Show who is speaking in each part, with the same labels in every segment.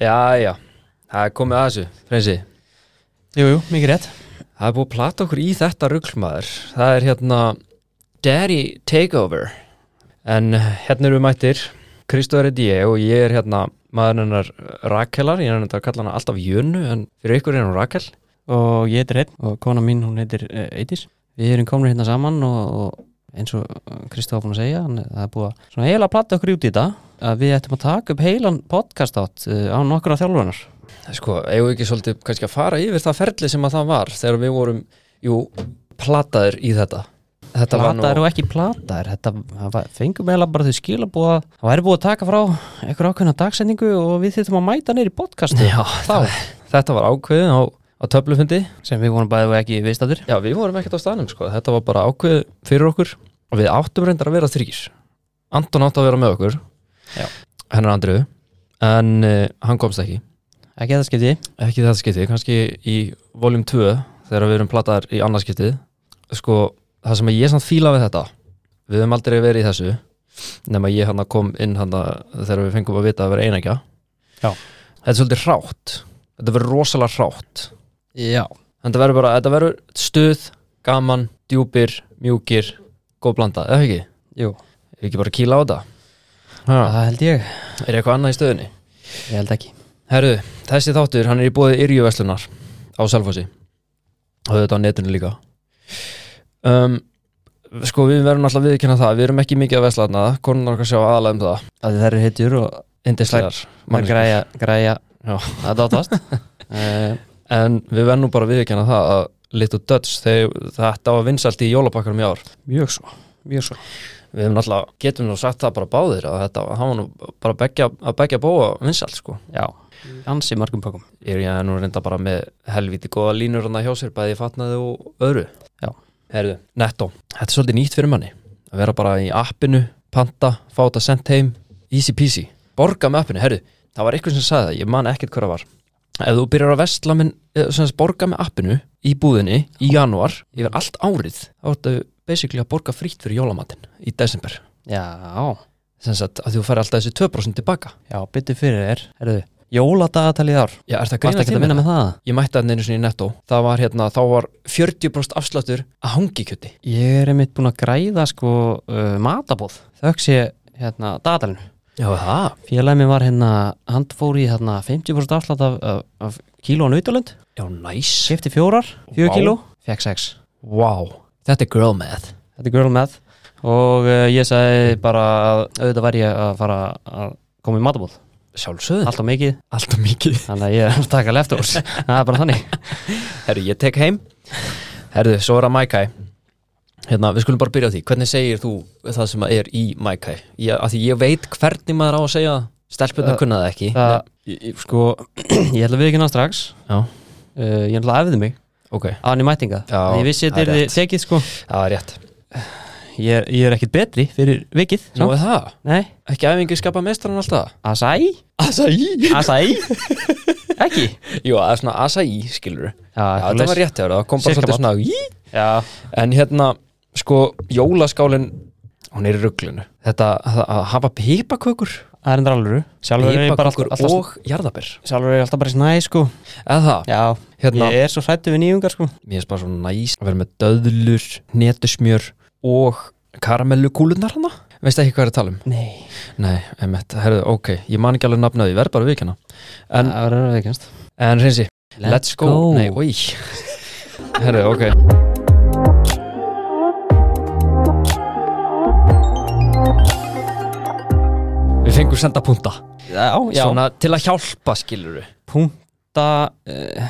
Speaker 1: Já, já, það er komið að þessu, Frensi
Speaker 2: Jú, jú, mikið rétt
Speaker 1: Það er búið að plata okkur í þetta ruglmaður Það er hérna Daddy Takeover En hérna eru við mættir Kristóður er ég og ég er hérna maður hennar Rakelar, ég er hennar að kalla hana alltaf Jönu en fyrir ykkur er hennar Rakel
Speaker 2: Og ég heitir Einn og kona mín, hún heitir uh, Eidís Við erum komin hérna saman og, og eins og Kristof búin að segja hann, það er búið að svona heila platta okkur út í þetta að við ættum að taka upp heilan podcast átt uh, á nokkura þjálfunar
Speaker 1: Sko, eigum við ekki svolítið kannski að fara yfir það ferli sem að það var þegar við vorum, jú, plataðir í þetta Þetta var nú-
Speaker 2: Plataðir og ekki plataðir þetta það var- fengum eiginlega bara þau skilabúa það væri búið að taka frá einhver ákveðna dagsendingu og við þyrftum að mæta neyri podcastu
Speaker 1: Já, það, þetta var ákveðin á, á töflufundi
Speaker 2: sem við vorum bæðið og ekki viðstættur
Speaker 1: Já, við vorum ekkert á staðnum sko. þetta var bara ákveð fyrir okkur og við áttum reyndar að vera þrýr Anton átt að vera með okkur
Speaker 2: Já.
Speaker 1: hennar Andriðu en uh, hann komst ekki
Speaker 2: ekki þetta skipti
Speaker 1: ekki í þetta skiptið, kannski í voljum 2 þegar við erum plattaðar í annars skiptið sko, það sem ég samt fíla við þetta við höfum aldrei verið í þessu nema ég hann kom inn hann þegar við fengum að vita að vera einægja
Speaker 2: Já.
Speaker 1: þetta er svolítið hrátt þetta verður rosalega hrátt
Speaker 2: Já
Speaker 1: þetta verður bara, þetta verður stuð gaman, djúpir, mjúkir góð blanda, eða ekki?
Speaker 2: Jú,
Speaker 1: Ef ekki bara kýla á þetta ha.
Speaker 2: það held ég,
Speaker 1: er eitthvað annað í stöðunni?
Speaker 2: ég held ekki
Speaker 1: Herru, þessi þáttur, hann er í bóði Yrjuveslunar á Selfossi og þetta á netinu líka um, Sko, við verðum alltaf viðkynna það, við erum ekki mikið að vesla þarna konunar okkar sjá aðalega um það
Speaker 2: að það eru hitjur og
Speaker 1: Indislegar
Speaker 2: mann
Speaker 1: manneskjur.
Speaker 2: græja, græja
Speaker 1: Já.
Speaker 2: að dátast uh,
Speaker 1: En við verðum nú bara viðkynna það að Little Dutch, þegar þetta var vinsalt í jólapakkarum í ár
Speaker 2: mjög svo, mjög svo
Speaker 1: Við hefum náttúrulega, getum nú sagt það bara báðir að þetta, að hann var nú bara að begja, að begja bóa vinsalt sko
Speaker 2: já, ansi mörgum pakum
Speaker 1: er ég nú reynda bara með helviti góða línur hann að hjá sér bæði fatnaði og öðru
Speaker 2: Já.
Speaker 1: Herðu, netto, þetta er svolítið nýtt fyrir manni að vera bara í appinu, panta, fá þetta sent heim easy peasy, borga með appinu, herðu það var eitthvað sem sagði það, ég man ekkert hver það var ef þú byrjar að vestla minn sem borga með appinu í búðinni í janúar, yfir allt árið þá ertu basically að borga frítt fyrir jólamatinn í desember,
Speaker 2: já,
Speaker 1: sem sagt að þú færi alltaf þessi 2% tilbaka,
Speaker 2: já, byttu fyrir þér herðu, jóladagatalið ár
Speaker 1: já, er það
Speaker 2: varst ekki að vinna með það?
Speaker 1: ég mætti hann einu sinni í netto það var hérna, þá var 40% afsláttur að hangikjöti
Speaker 2: ég er einmitt búin að græða sko uh, matabóð, þöggs ég hérna datalinu
Speaker 1: já það,
Speaker 2: félagið minn var hérna, hann fór í hérna 50% afslátt af, af, af kíló á nautalund,
Speaker 1: já næs
Speaker 2: kefti fjórar,
Speaker 1: Vá.
Speaker 2: fjör kíló fekk sex
Speaker 1: wow, þetta er girl math
Speaker 2: Þetta er Girl Math og uh, ég sagði bara að auðvitað væri ég að fara að koma í matabóð
Speaker 1: sjálfsögðin,
Speaker 2: alltaf mikið,
Speaker 1: alltaf mikið
Speaker 2: þannig að ég er að taka leftovers það er bara þannig
Speaker 1: herru, ég tek heim herru, svo er að mækæ hérna, við skulum bara byrja á því, hvernig segir þú það sem að er í mækæ ég, að því ég veit hvernig maður á að segja það. stelpurnar
Speaker 2: Það-
Speaker 1: kunna það ekki
Speaker 2: það, ég- ég- sko, ég ætla að við ekki ná strax
Speaker 1: já,
Speaker 2: uh, ég ætla að æfði mig
Speaker 1: ok,
Speaker 2: á hann í mætinga
Speaker 1: Já,
Speaker 2: ég vissi
Speaker 1: það
Speaker 2: þetta
Speaker 1: er
Speaker 2: er þið tekið sko
Speaker 1: það er rétt
Speaker 2: ég er, ég er ekkit betri fyrir vikið
Speaker 1: nú
Speaker 2: samt.
Speaker 1: er það,
Speaker 2: nei,
Speaker 1: ekki æfingi skapa mestran alltaf
Speaker 2: asæ,
Speaker 1: Acai
Speaker 2: asæ ekki
Speaker 1: Jú, það er svona acai, skilur
Speaker 2: já,
Speaker 1: Já, þetta var rétt hjá þér, það kom bara
Speaker 2: Sirka
Speaker 1: svolítið svona í.
Speaker 2: já,
Speaker 1: En hérna, sko, jólaskálin hún er í rugglinu Þetta að, að hafa pipakökur
Speaker 2: það er endur alvöru sjálfur er ég bara
Speaker 1: pipakökur
Speaker 2: alltaf, alltaf,
Speaker 1: og jarðaber
Speaker 2: sjálfur er ég alltaf bara í snæ sko
Speaker 1: Eða það,
Speaker 2: já,
Speaker 1: hérna,
Speaker 2: ég er svo hrættu við nýjungar sko
Speaker 1: mér finnst bara svona næs að vera með döðlur, netusmjör og karamellukúlunar hana Veist ekki hvað er að tala um?
Speaker 2: nei
Speaker 1: Nei, emett, herðu, ok, ég man ekki alveg nafnaði, ég verð bara viðkjanna En,
Speaker 2: það verður að viðkjast
Speaker 1: en reynsi, let's go, Nei, oi Herðu, ok Við fengum senda punta
Speaker 2: Já, já
Speaker 1: Svona til að hjálpa skiluru
Speaker 2: Punta uh,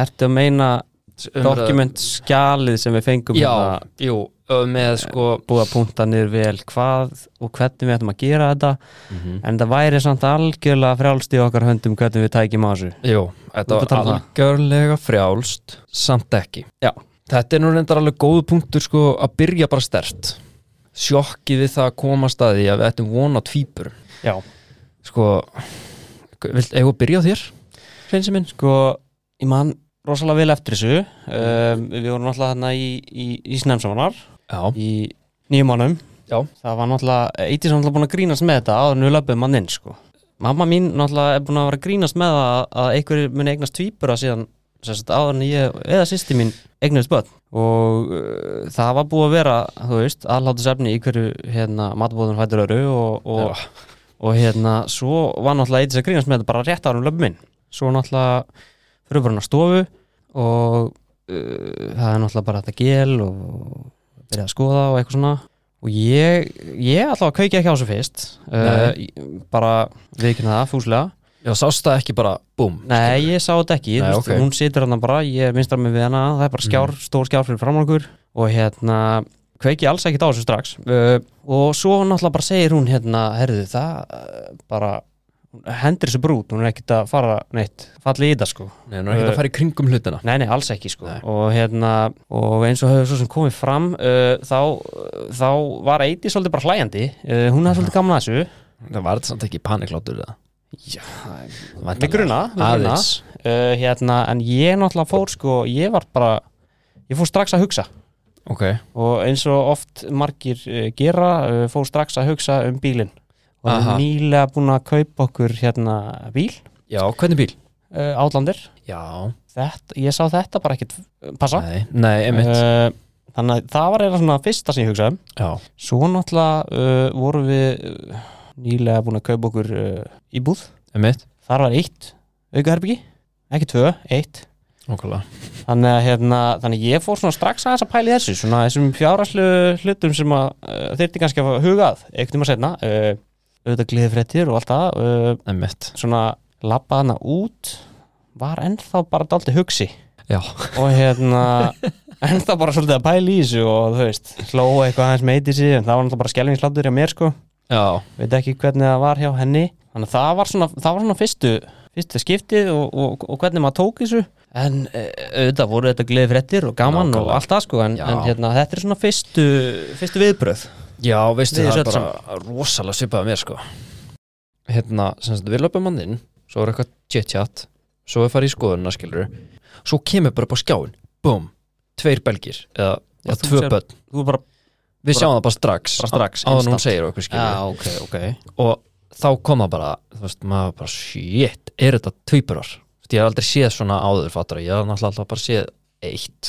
Speaker 2: Ertu að meina Dokument skjalið sem við fengum
Speaker 1: Já,
Speaker 2: hérna,
Speaker 1: jú, ö, með sko
Speaker 2: Búið að punta niður vel hvað Og hvernig við ættum að gera þetta En það væri samt algjörlega frjálst í okkar höndum Hvernig við tækjum á þessu
Speaker 1: Jú, þetta
Speaker 2: Þú ert að
Speaker 1: var
Speaker 2: tala um
Speaker 1: algjörlega frjálst Samt ekki
Speaker 2: Já.
Speaker 1: Þetta er nú reyndar alveg góð punktur sko að byrja bara stert Sjokkið við það að komast að því að við ættum vona tvípur
Speaker 2: Já
Speaker 1: Sko, vilt, eigum við að byrja á þér? Hreinsi minn
Speaker 2: Sko, ég man rosalega vel eftir þessu um, Við vorum náttúrulega þarna í, í, í Snemsamanar
Speaker 1: Já,
Speaker 2: Í nýjum mannum
Speaker 1: Já.
Speaker 2: Það var náttúrulega Eitið sem náttúrulega búin að grínast með þetta Áður en við löpum manninn sko mamma mín náttúrulega er búin að vera að grínast með að, að einhverjir muni eignast tvíbura síðan sérst, áður en ég eða sýsti mín eignast börn og uh, það var búið að vera, þú veist, aðlátusefni í hverju hérna, matbúðun hættur öru og, og, og, hérna, svo var náttúrulega eitthvað að grínast með þetta bara rétt árum löpum minn svo náttúrulega fyrir bara hann á stofu og uh, það er náttúrulega bara þetta gel og byrjaði að skoða og eitthvað svona og ég, ég alltaf að kauki ekki á þessu fyrst uh,
Speaker 1: Nei.
Speaker 2: ég- bara viðkynna það fúslega
Speaker 1: Já, sást það ekki bara, búm
Speaker 2: Nei, ég sá þetta ekki,
Speaker 1: Nei,
Speaker 2: Nei,
Speaker 1: ok. Mm.
Speaker 2: hún situr hann bara, ég er vinstar með við hana, það er bara skjár, stór skjár fyrir fram á okkur og hérna, kveiki alls ekkert á þessu strax uh, og svo náttúrulega bara segir hún hérna, herðu það, uh, bara hendur þessu brút, hún er ekkert að fara neitt, falli í þetta sko
Speaker 1: Nei, nú er ekki að fara í kringum hlutina
Speaker 2: Nei, nei, alls ekki sko
Speaker 1: Nei.
Speaker 2: og, hérna, og eins og hefur svo sem komið fram uh, þá, þá var Eiti svolítið bara hlæjandi uh, hún hafði svolítið gaman að þessu
Speaker 1: Það var þetta samt ekki paniklátur eða?
Speaker 2: Já,
Speaker 1: Væntanlega.
Speaker 2: við gruna, við gruna.
Speaker 1: Aðeins
Speaker 2: Uh, hérna, en ég náttúrulega fór sko, ég var bara ég fór strax að hugsa
Speaker 1: Ok,
Speaker 2: og eins og oft margir uh, gera uh, fór strax að hugsa um bílinn og við
Speaker 1: Aha.
Speaker 2: erum nýlega búin að kaupa okkur hérna bíl,
Speaker 1: já, hvernig bíl?
Speaker 2: uh, Átlandir
Speaker 1: Já,
Speaker 2: þetta, ég sá þetta bara ekkit eh, passa
Speaker 1: nei, nei, einmitt
Speaker 2: uh, þannig að það var eða svona fyrsta sem ég hugsaði um.
Speaker 1: Já,
Speaker 2: svo náttúrulega uh, vorum við uh, nýlega búin að kaupa okkur uh, íbúð
Speaker 1: einmitt
Speaker 2: þar var eitt aukaherbyggi ekki tvö, eitt
Speaker 1: Nókulega
Speaker 2: þannig að hérna, þannig að ég fór svona strax aðeins að pæli þessu, svona þessum fjáraslu hlutum sem að uh, þyrfti kannski að hugað einhvern tíma setna uh, auðvitað gleðifréttir og allt það uh,
Speaker 1: Einmitt
Speaker 2: svona labba hana út var ennþá bara daldi hugsi
Speaker 1: Já,
Speaker 2: og hérna ennþá bara svolítið að pæla í þessu og þú veist, hlóa eitthvað aðeins meiti sig en það var náttúrulega bara skelvingslátur hjá mér sko
Speaker 1: já,
Speaker 2: veit ekki hvernig það var hjá henni þannig að það var svona, það var svona fyrstu fyrstu skiptið og, og, og hvernig maður tók þessu en eh, auðvitað voru þetta gleði fréttir og gaman og
Speaker 1: Nákvæmlega.
Speaker 2: allt það sko en,
Speaker 1: Já.
Speaker 2: en hérna, þetta er svona fyrstu, fyrstu viðbröð
Speaker 1: já, veistu
Speaker 2: Við
Speaker 1: það
Speaker 2: erum
Speaker 1: er bara rosalega svipað að mér sko Hérna, sem sagt, við löpum manninn Svo er eitthvað chit-chat Svo við farið í skoðunna, skilur Svo kemur bara upp á skjáin, búm Tveir belgir, eða,
Speaker 2: Já,
Speaker 1: eða
Speaker 2: þú
Speaker 1: tvö
Speaker 2: sér-
Speaker 1: börn
Speaker 2: þú er bara,
Speaker 1: Við
Speaker 2: bara-
Speaker 1: sjáum það bara strax
Speaker 2: bara strax,
Speaker 1: Áðan hún
Speaker 2: instant.
Speaker 1: segir okkur skilur
Speaker 2: ok, ok
Speaker 1: og þá kom það bara þú veist, maður bara, shit, er þetta tvíburar Þú veist, ég hef aldrei séð svona áður fattur, ég hef náttúrulega alltaf bara séð eitt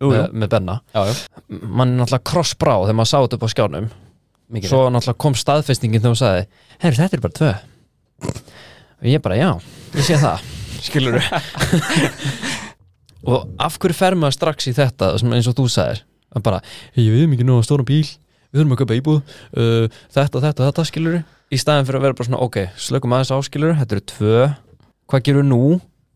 Speaker 2: Jú, jú.
Speaker 1: með, með benna
Speaker 2: já, já.
Speaker 1: mann er náttúrulega krossbrá þegar maður sá þetta upp á skjánum
Speaker 2: mikið
Speaker 1: svo náttúrulega kom staðfestingin þegar maður sagði herri, þetta er bara tvö og ég bara, já, ég sé það skilur og af hverju fer maður strax í þetta sem eins og þú sagðir að bara, ég við erum ekki nóg að stóra bíl við þurfum að köpa íbúð uh, þetta, þetta, þetta skilur í staðin fyrir að vera bara svona, ok, slökum aðeins áskilur þetta eru tvö, hvað gerum við nú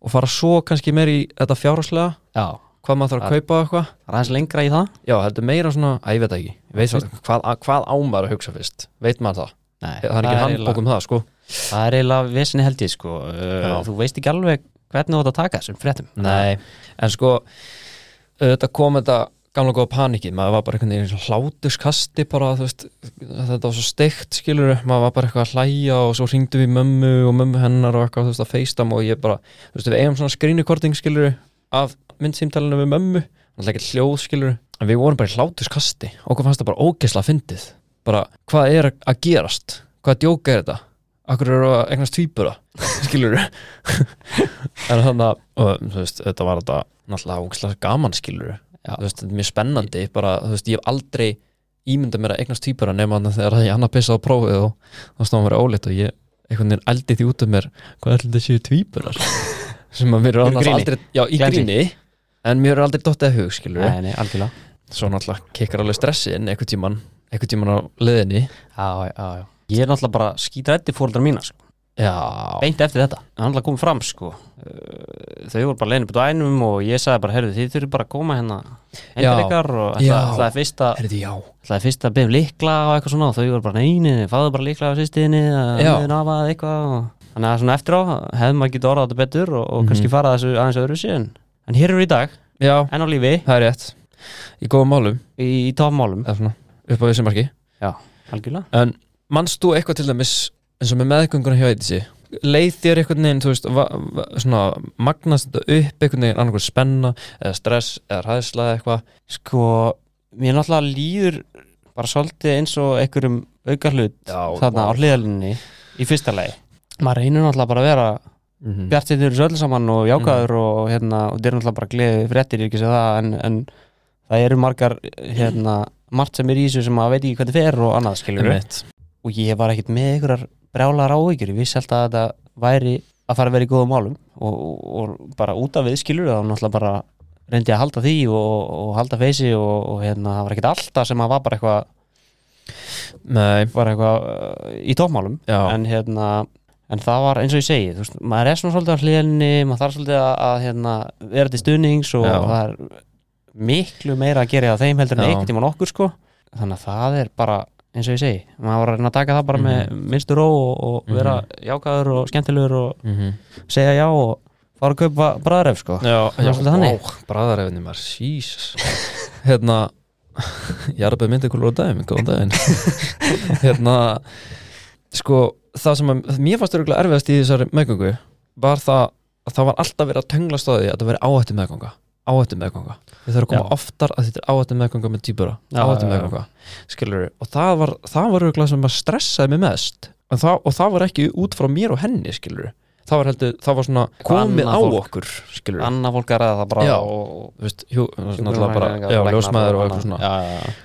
Speaker 1: og fara svo kannski meir í þetta fjárháslega
Speaker 2: já,
Speaker 1: hvað maður þarf að kaupa og eitthvað
Speaker 2: það er aðeins lengra í það
Speaker 1: já, heldur meira svona, að ég veit það ekki ég veit svona, hvað, að- hvað ámar að hugsa fyrst veit maður það,
Speaker 2: Nei,
Speaker 1: það er ekki
Speaker 2: eiginlega-
Speaker 1: handbók um það sko
Speaker 2: það er eiginlega vesinni held ég sko uh,
Speaker 1: Já.
Speaker 2: þú veist ekki alveg hvernig þú átt að taka þessum fréttum
Speaker 1: Nei, en sko þetta kom þetta gamla góða panikið maður var bara einhvern veginn í svona hlátuskasti bara þú veist, þetta var svo steikt skilur, maður var bara eitthvað að hlæja og svo hringdu við í mömmu og mömmu hennar og eitthvað þú veist að feistam og ég bara þú veist við eigum svona skrýnikording skilur af myndsýmtalinu við mömmu alltaf ekki hljóð skilur, en við vorum bara í hlátuskasti okkur fannst það bara ógeðslega fyndið bara hvað er að gerast hvað djóka er þetta, akkur eru að eignast tvíbura, skilur en þannig að og, þú veist, þetta var þetta náttúrulega ógeðslega gaman skilur
Speaker 2: Já.
Speaker 1: þú veist, þetta er mjög spennandi bara, þú veist, ég hef aldrei ímyndað mér að eignast tvíbara nema þannig þegar ég annað pissa á prófið og þá snáðum mér óleitt og ég einhvern veginn eldi því út um mér hvað ætlum þetta séu tvíbarar sem að mér
Speaker 2: Í
Speaker 1: er annars
Speaker 2: gríni.
Speaker 1: aldrei já, í
Speaker 2: Glensi.
Speaker 1: gríni, en mér er aldrei dottið að hug skilur,
Speaker 2: Nei, nei, algjörlega
Speaker 1: svo náttúrulega kikkar alveg stressin einhvern tíman, einhvern tíman á leðinni
Speaker 2: já, já, já. Ég er náttúrulega bara skítrætti fóreldrar mína sko.
Speaker 1: já,
Speaker 2: beint eftir þetta, það er náttúrulega komið fram sko. Uh, þau voru bara leiðin upp á dænum og ég sagði bara, herðu, þið þurfið bara að koma hérna endur
Speaker 1: Já.
Speaker 2: ykkar og
Speaker 1: Já.
Speaker 2: það er fyrst að
Speaker 1: herrðu já
Speaker 2: Það er fyrst að beðum líkla og eitthvað svona og þau voru bara neini, fáðu bara líkla á sýstinni að
Speaker 1: Já.
Speaker 2: meðin afað eitthvað og þannig að svona eftir á hefðum maður getið orðað þetta betur og, og kannski farað þessu aðeins öðru síðan en hér eru í dag,
Speaker 1: já,
Speaker 2: enn á lífi
Speaker 1: það er rétt í góðum málum,
Speaker 2: í, í toppmálum,
Speaker 1: eða svona, upp á þessu marki
Speaker 2: algjörlega
Speaker 1: En mannst þú eitthvað til dæmis eins og með meðgönguna hjá eitthvað leið þér einhvern veginn, þú veist va, va, svona magnast þetta upp einhvern veginn annarkoð spenna eða stress eða hræðsla eða eitthvað
Speaker 2: Sko, mér náttúrulega líður bara svolítið eins og einhverjum auka hlut
Speaker 1: Já,
Speaker 2: þarna
Speaker 1: vá.
Speaker 2: á hliðalinni í fyrsta lagi maður reynir náttúrulega bara að vera
Speaker 1: Mhm.
Speaker 2: bjart sér þér öll saman og jákaður og hérna, og þetta er náttúrulega bara gleði fréttir ég er ekki sér það, en, en það eru margar hérna, margt sem er í þessu sem maður veit ekki hvað þetta fer og annað skilur
Speaker 1: Einmitt.
Speaker 2: og ég var ekkert með einhverjar brjálar áhyggjur, ég vissi alltaf að þetta væri að fara að vera í góðum málum og, og, og bara út af við skilur það og náttúrulega bara reyndi að halda því og, og halda feysi og, og hérna, það var ekkert alltaf sem að var bara eitthvað
Speaker 1: Nei,
Speaker 2: var eitthvað uh, í tópmálum
Speaker 1: já,
Speaker 2: en hérna en það var eins og ég segi, þú veist, maður er svona svolítið á hliðinni, maður þarf svolítið að, að hérna, vera til stuðnings og
Speaker 1: Já.
Speaker 2: það er miklu meira að gera á þeim heldur en
Speaker 1: Já.
Speaker 2: einhvern tímann okkur sko þannig að það er bara, eins og ég segi maður var að reyna að taka það bara
Speaker 1: Mhm.
Speaker 2: með minnstu ró og, og vera jákaður og skemmtilegur og
Speaker 1: mhm.
Speaker 2: segja já og fara að kaupa bræðref sko
Speaker 1: já,
Speaker 2: Það var svolítið þannig.
Speaker 1: bræðarefni maður, Jesus hérna ég er að beða myndið kúlur á daginn, góðan daginn hérna sko, það sem að, mér fannst örgulega erfiðast í þessari meðgöngu var það að það var alltaf verið að töngla stóði að það veri áhættu meðgönga áhættu meðgönga, við þurfum að koma
Speaker 2: Já.
Speaker 1: oftar að þetta er áhættu meðgönga með týpura
Speaker 2: Já,
Speaker 1: áhættu
Speaker 2: já, já.
Speaker 1: meðgönga, skilur og það var, það var örgulega sem að stressaði mig mest En það, og það var ekki út frá mér og henni skilur það var heldur, það var svona komið
Speaker 2: annað
Speaker 1: á
Speaker 2: fólk.
Speaker 1: okkur skilur
Speaker 2: annað fólk er að það bara
Speaker 1: Já.
Speaker 2: og, og
Speaker 1: þú veist, hjú, náttúrulega bara,
Speaker 2: hjúkrunarfræðingar,
Speaker 1: já,
Speaker 2: læknar
Speaker 1: ljósmaður og
Speaker 2: annað.
Speaker 1: eitthvað svona
Speaker 2: já, já, já.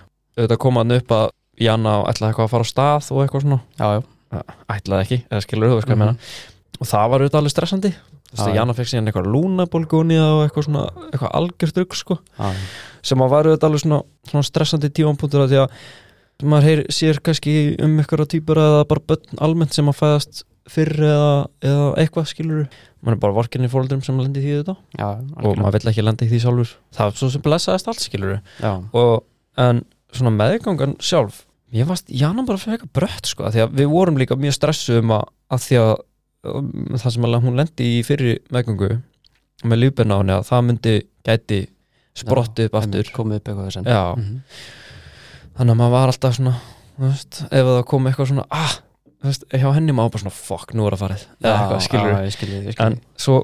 Speaker 1: auðvitað koma hann upp að Janna ætlaði eitthvað að fara á stað og eitthvað svona
Speaker 2: já, já.
Speaker 1: ætlaði ekki, eða skilur þú veist hvað ég
Speaker 2: Mhm.
Speaker 1: meina og það var auðvitað alveg stressandi þú veist,
Speaker 2: Já,
Speaker 1: að
Speaker 2: já.
Speaker 1: Janna fekk síðan eitthvað lúnabólgunni og eitthvað svona, eitthvað algjört rugg sko,
Speaker 2: Já, já.
Speaker 1: sem að var auðvitað alveg svona, svona stressandi tífampunktur að því að maður heyr, sér kannski um eitthvað týpur eða bara börn almennt sem að fæðast fyrr eða, eða eitthvað skilur maður er bara vorkinni fóldrum sem lendi því þetta
Speaker 2: Já,
Speaker 1: og
Speaker 2: algjörlega.
Speaker 1: maður vill ekki lendi því sjálfur það er svo sem blessaðist allt skilur
Speaker 2: já,
Speaker 1: og en svona meðgangan sjálf ég varst, Jana bara fyrir eitthvað brött sko, af því að við vorum líka mjög stressuð um að, að því að um, það sem alveg hún lendi í fyrri meðgangu með lífbyrna á henni að það myndi gæti sprotti upp aftur
Speaker 2: komið upp eitthvað Mhm. þess
Speaker 1: já, Mhm. þannig að maður var alltaf svona þú veist, ef það kom eitthvað svona ah, þú veist, hjá henni maður bara svona fuck, nú er það farið eða eitthvað, skilur
Speaker 2: já, ég skilur, ég skilur.
Speaker 1: en svo,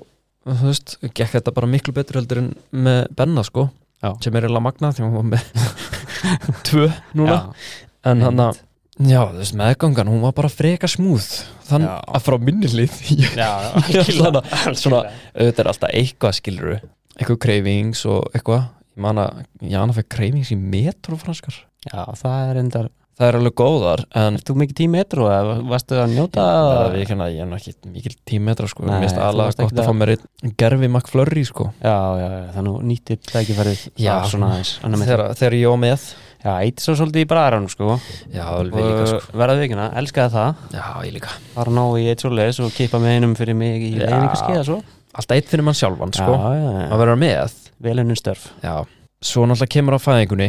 Speaker 1: þú veist, gekk þetta bara miklu betur heldur en með Benna sko
Speaker 2: Já.
Speaker 1: sem er eiginlega magna því að hún var með tvö núna
Speaker 2: já,
Speaker 1: en hann að,
Speaker 2: einmitt.
Speaker 1: já, þú veist, meðgangan hún var bara freka smúð þann
Speaker 2: Já.
Speaker 1: að frá minni lið ég- Ég
Speaker 2: já,
Speaker 1: ætla
Speaker 2: algjörlega,
Speaker 1: svona,
Speaker 2: algjörlega.
Speaker 1: auðvitað er alltaf eitthvað skiluru eitthvað cravings og eitthvað ég man að, já, hann fekk cravings í metro franskar,
Speaker 2: já, það er endar
Speaker 1: það er alveg góðar en
Speaker 2: Ert þú mikið tími etru eða varstu að njóta
Speaker 1: það
Speaker 2: eða?
Speaker 1: við ekki ég er nú ekki mikil tímetra sko,
Speaker 2: Nei,
Speaker 1: mér finnst
Speaker 2: þú
Speaker 1: alveg
Speaker 2: varst ekki
Speaker 1: gott að
Speaker 2: það.
Speaker 1: fá mér einn gerfi McFlurry sko,
Speaker 2: já, já, já, þannig að þú nýttir tækifærið
Speaker 1: Já,
Speaker 2: af svona aðeins annað með
Speaker 1: þegar, þegar ég var með
Speaker 2: já, eitt svo svolítið í bræðaranum sko
Speaker 1: já, alveg líka sko,
Speaker 2: verðað vikuna, elskaði það
Speaker 1: já, ég líka
Speaker 2: fara að ná í eitt svolítið og kippa með einum fyrir mig í
Speaker 1: Já.
Speaker 2: leiðingar skeiða svo
Speaker 1: alltaf eitt fyrir mann sjálfan sko,
Speaker 2: já, já, já,
Speaker 1: að vera með
Speaker 2: velunin störf
Speaker 1: Já, svo náttúrulega kemur á fæðingunni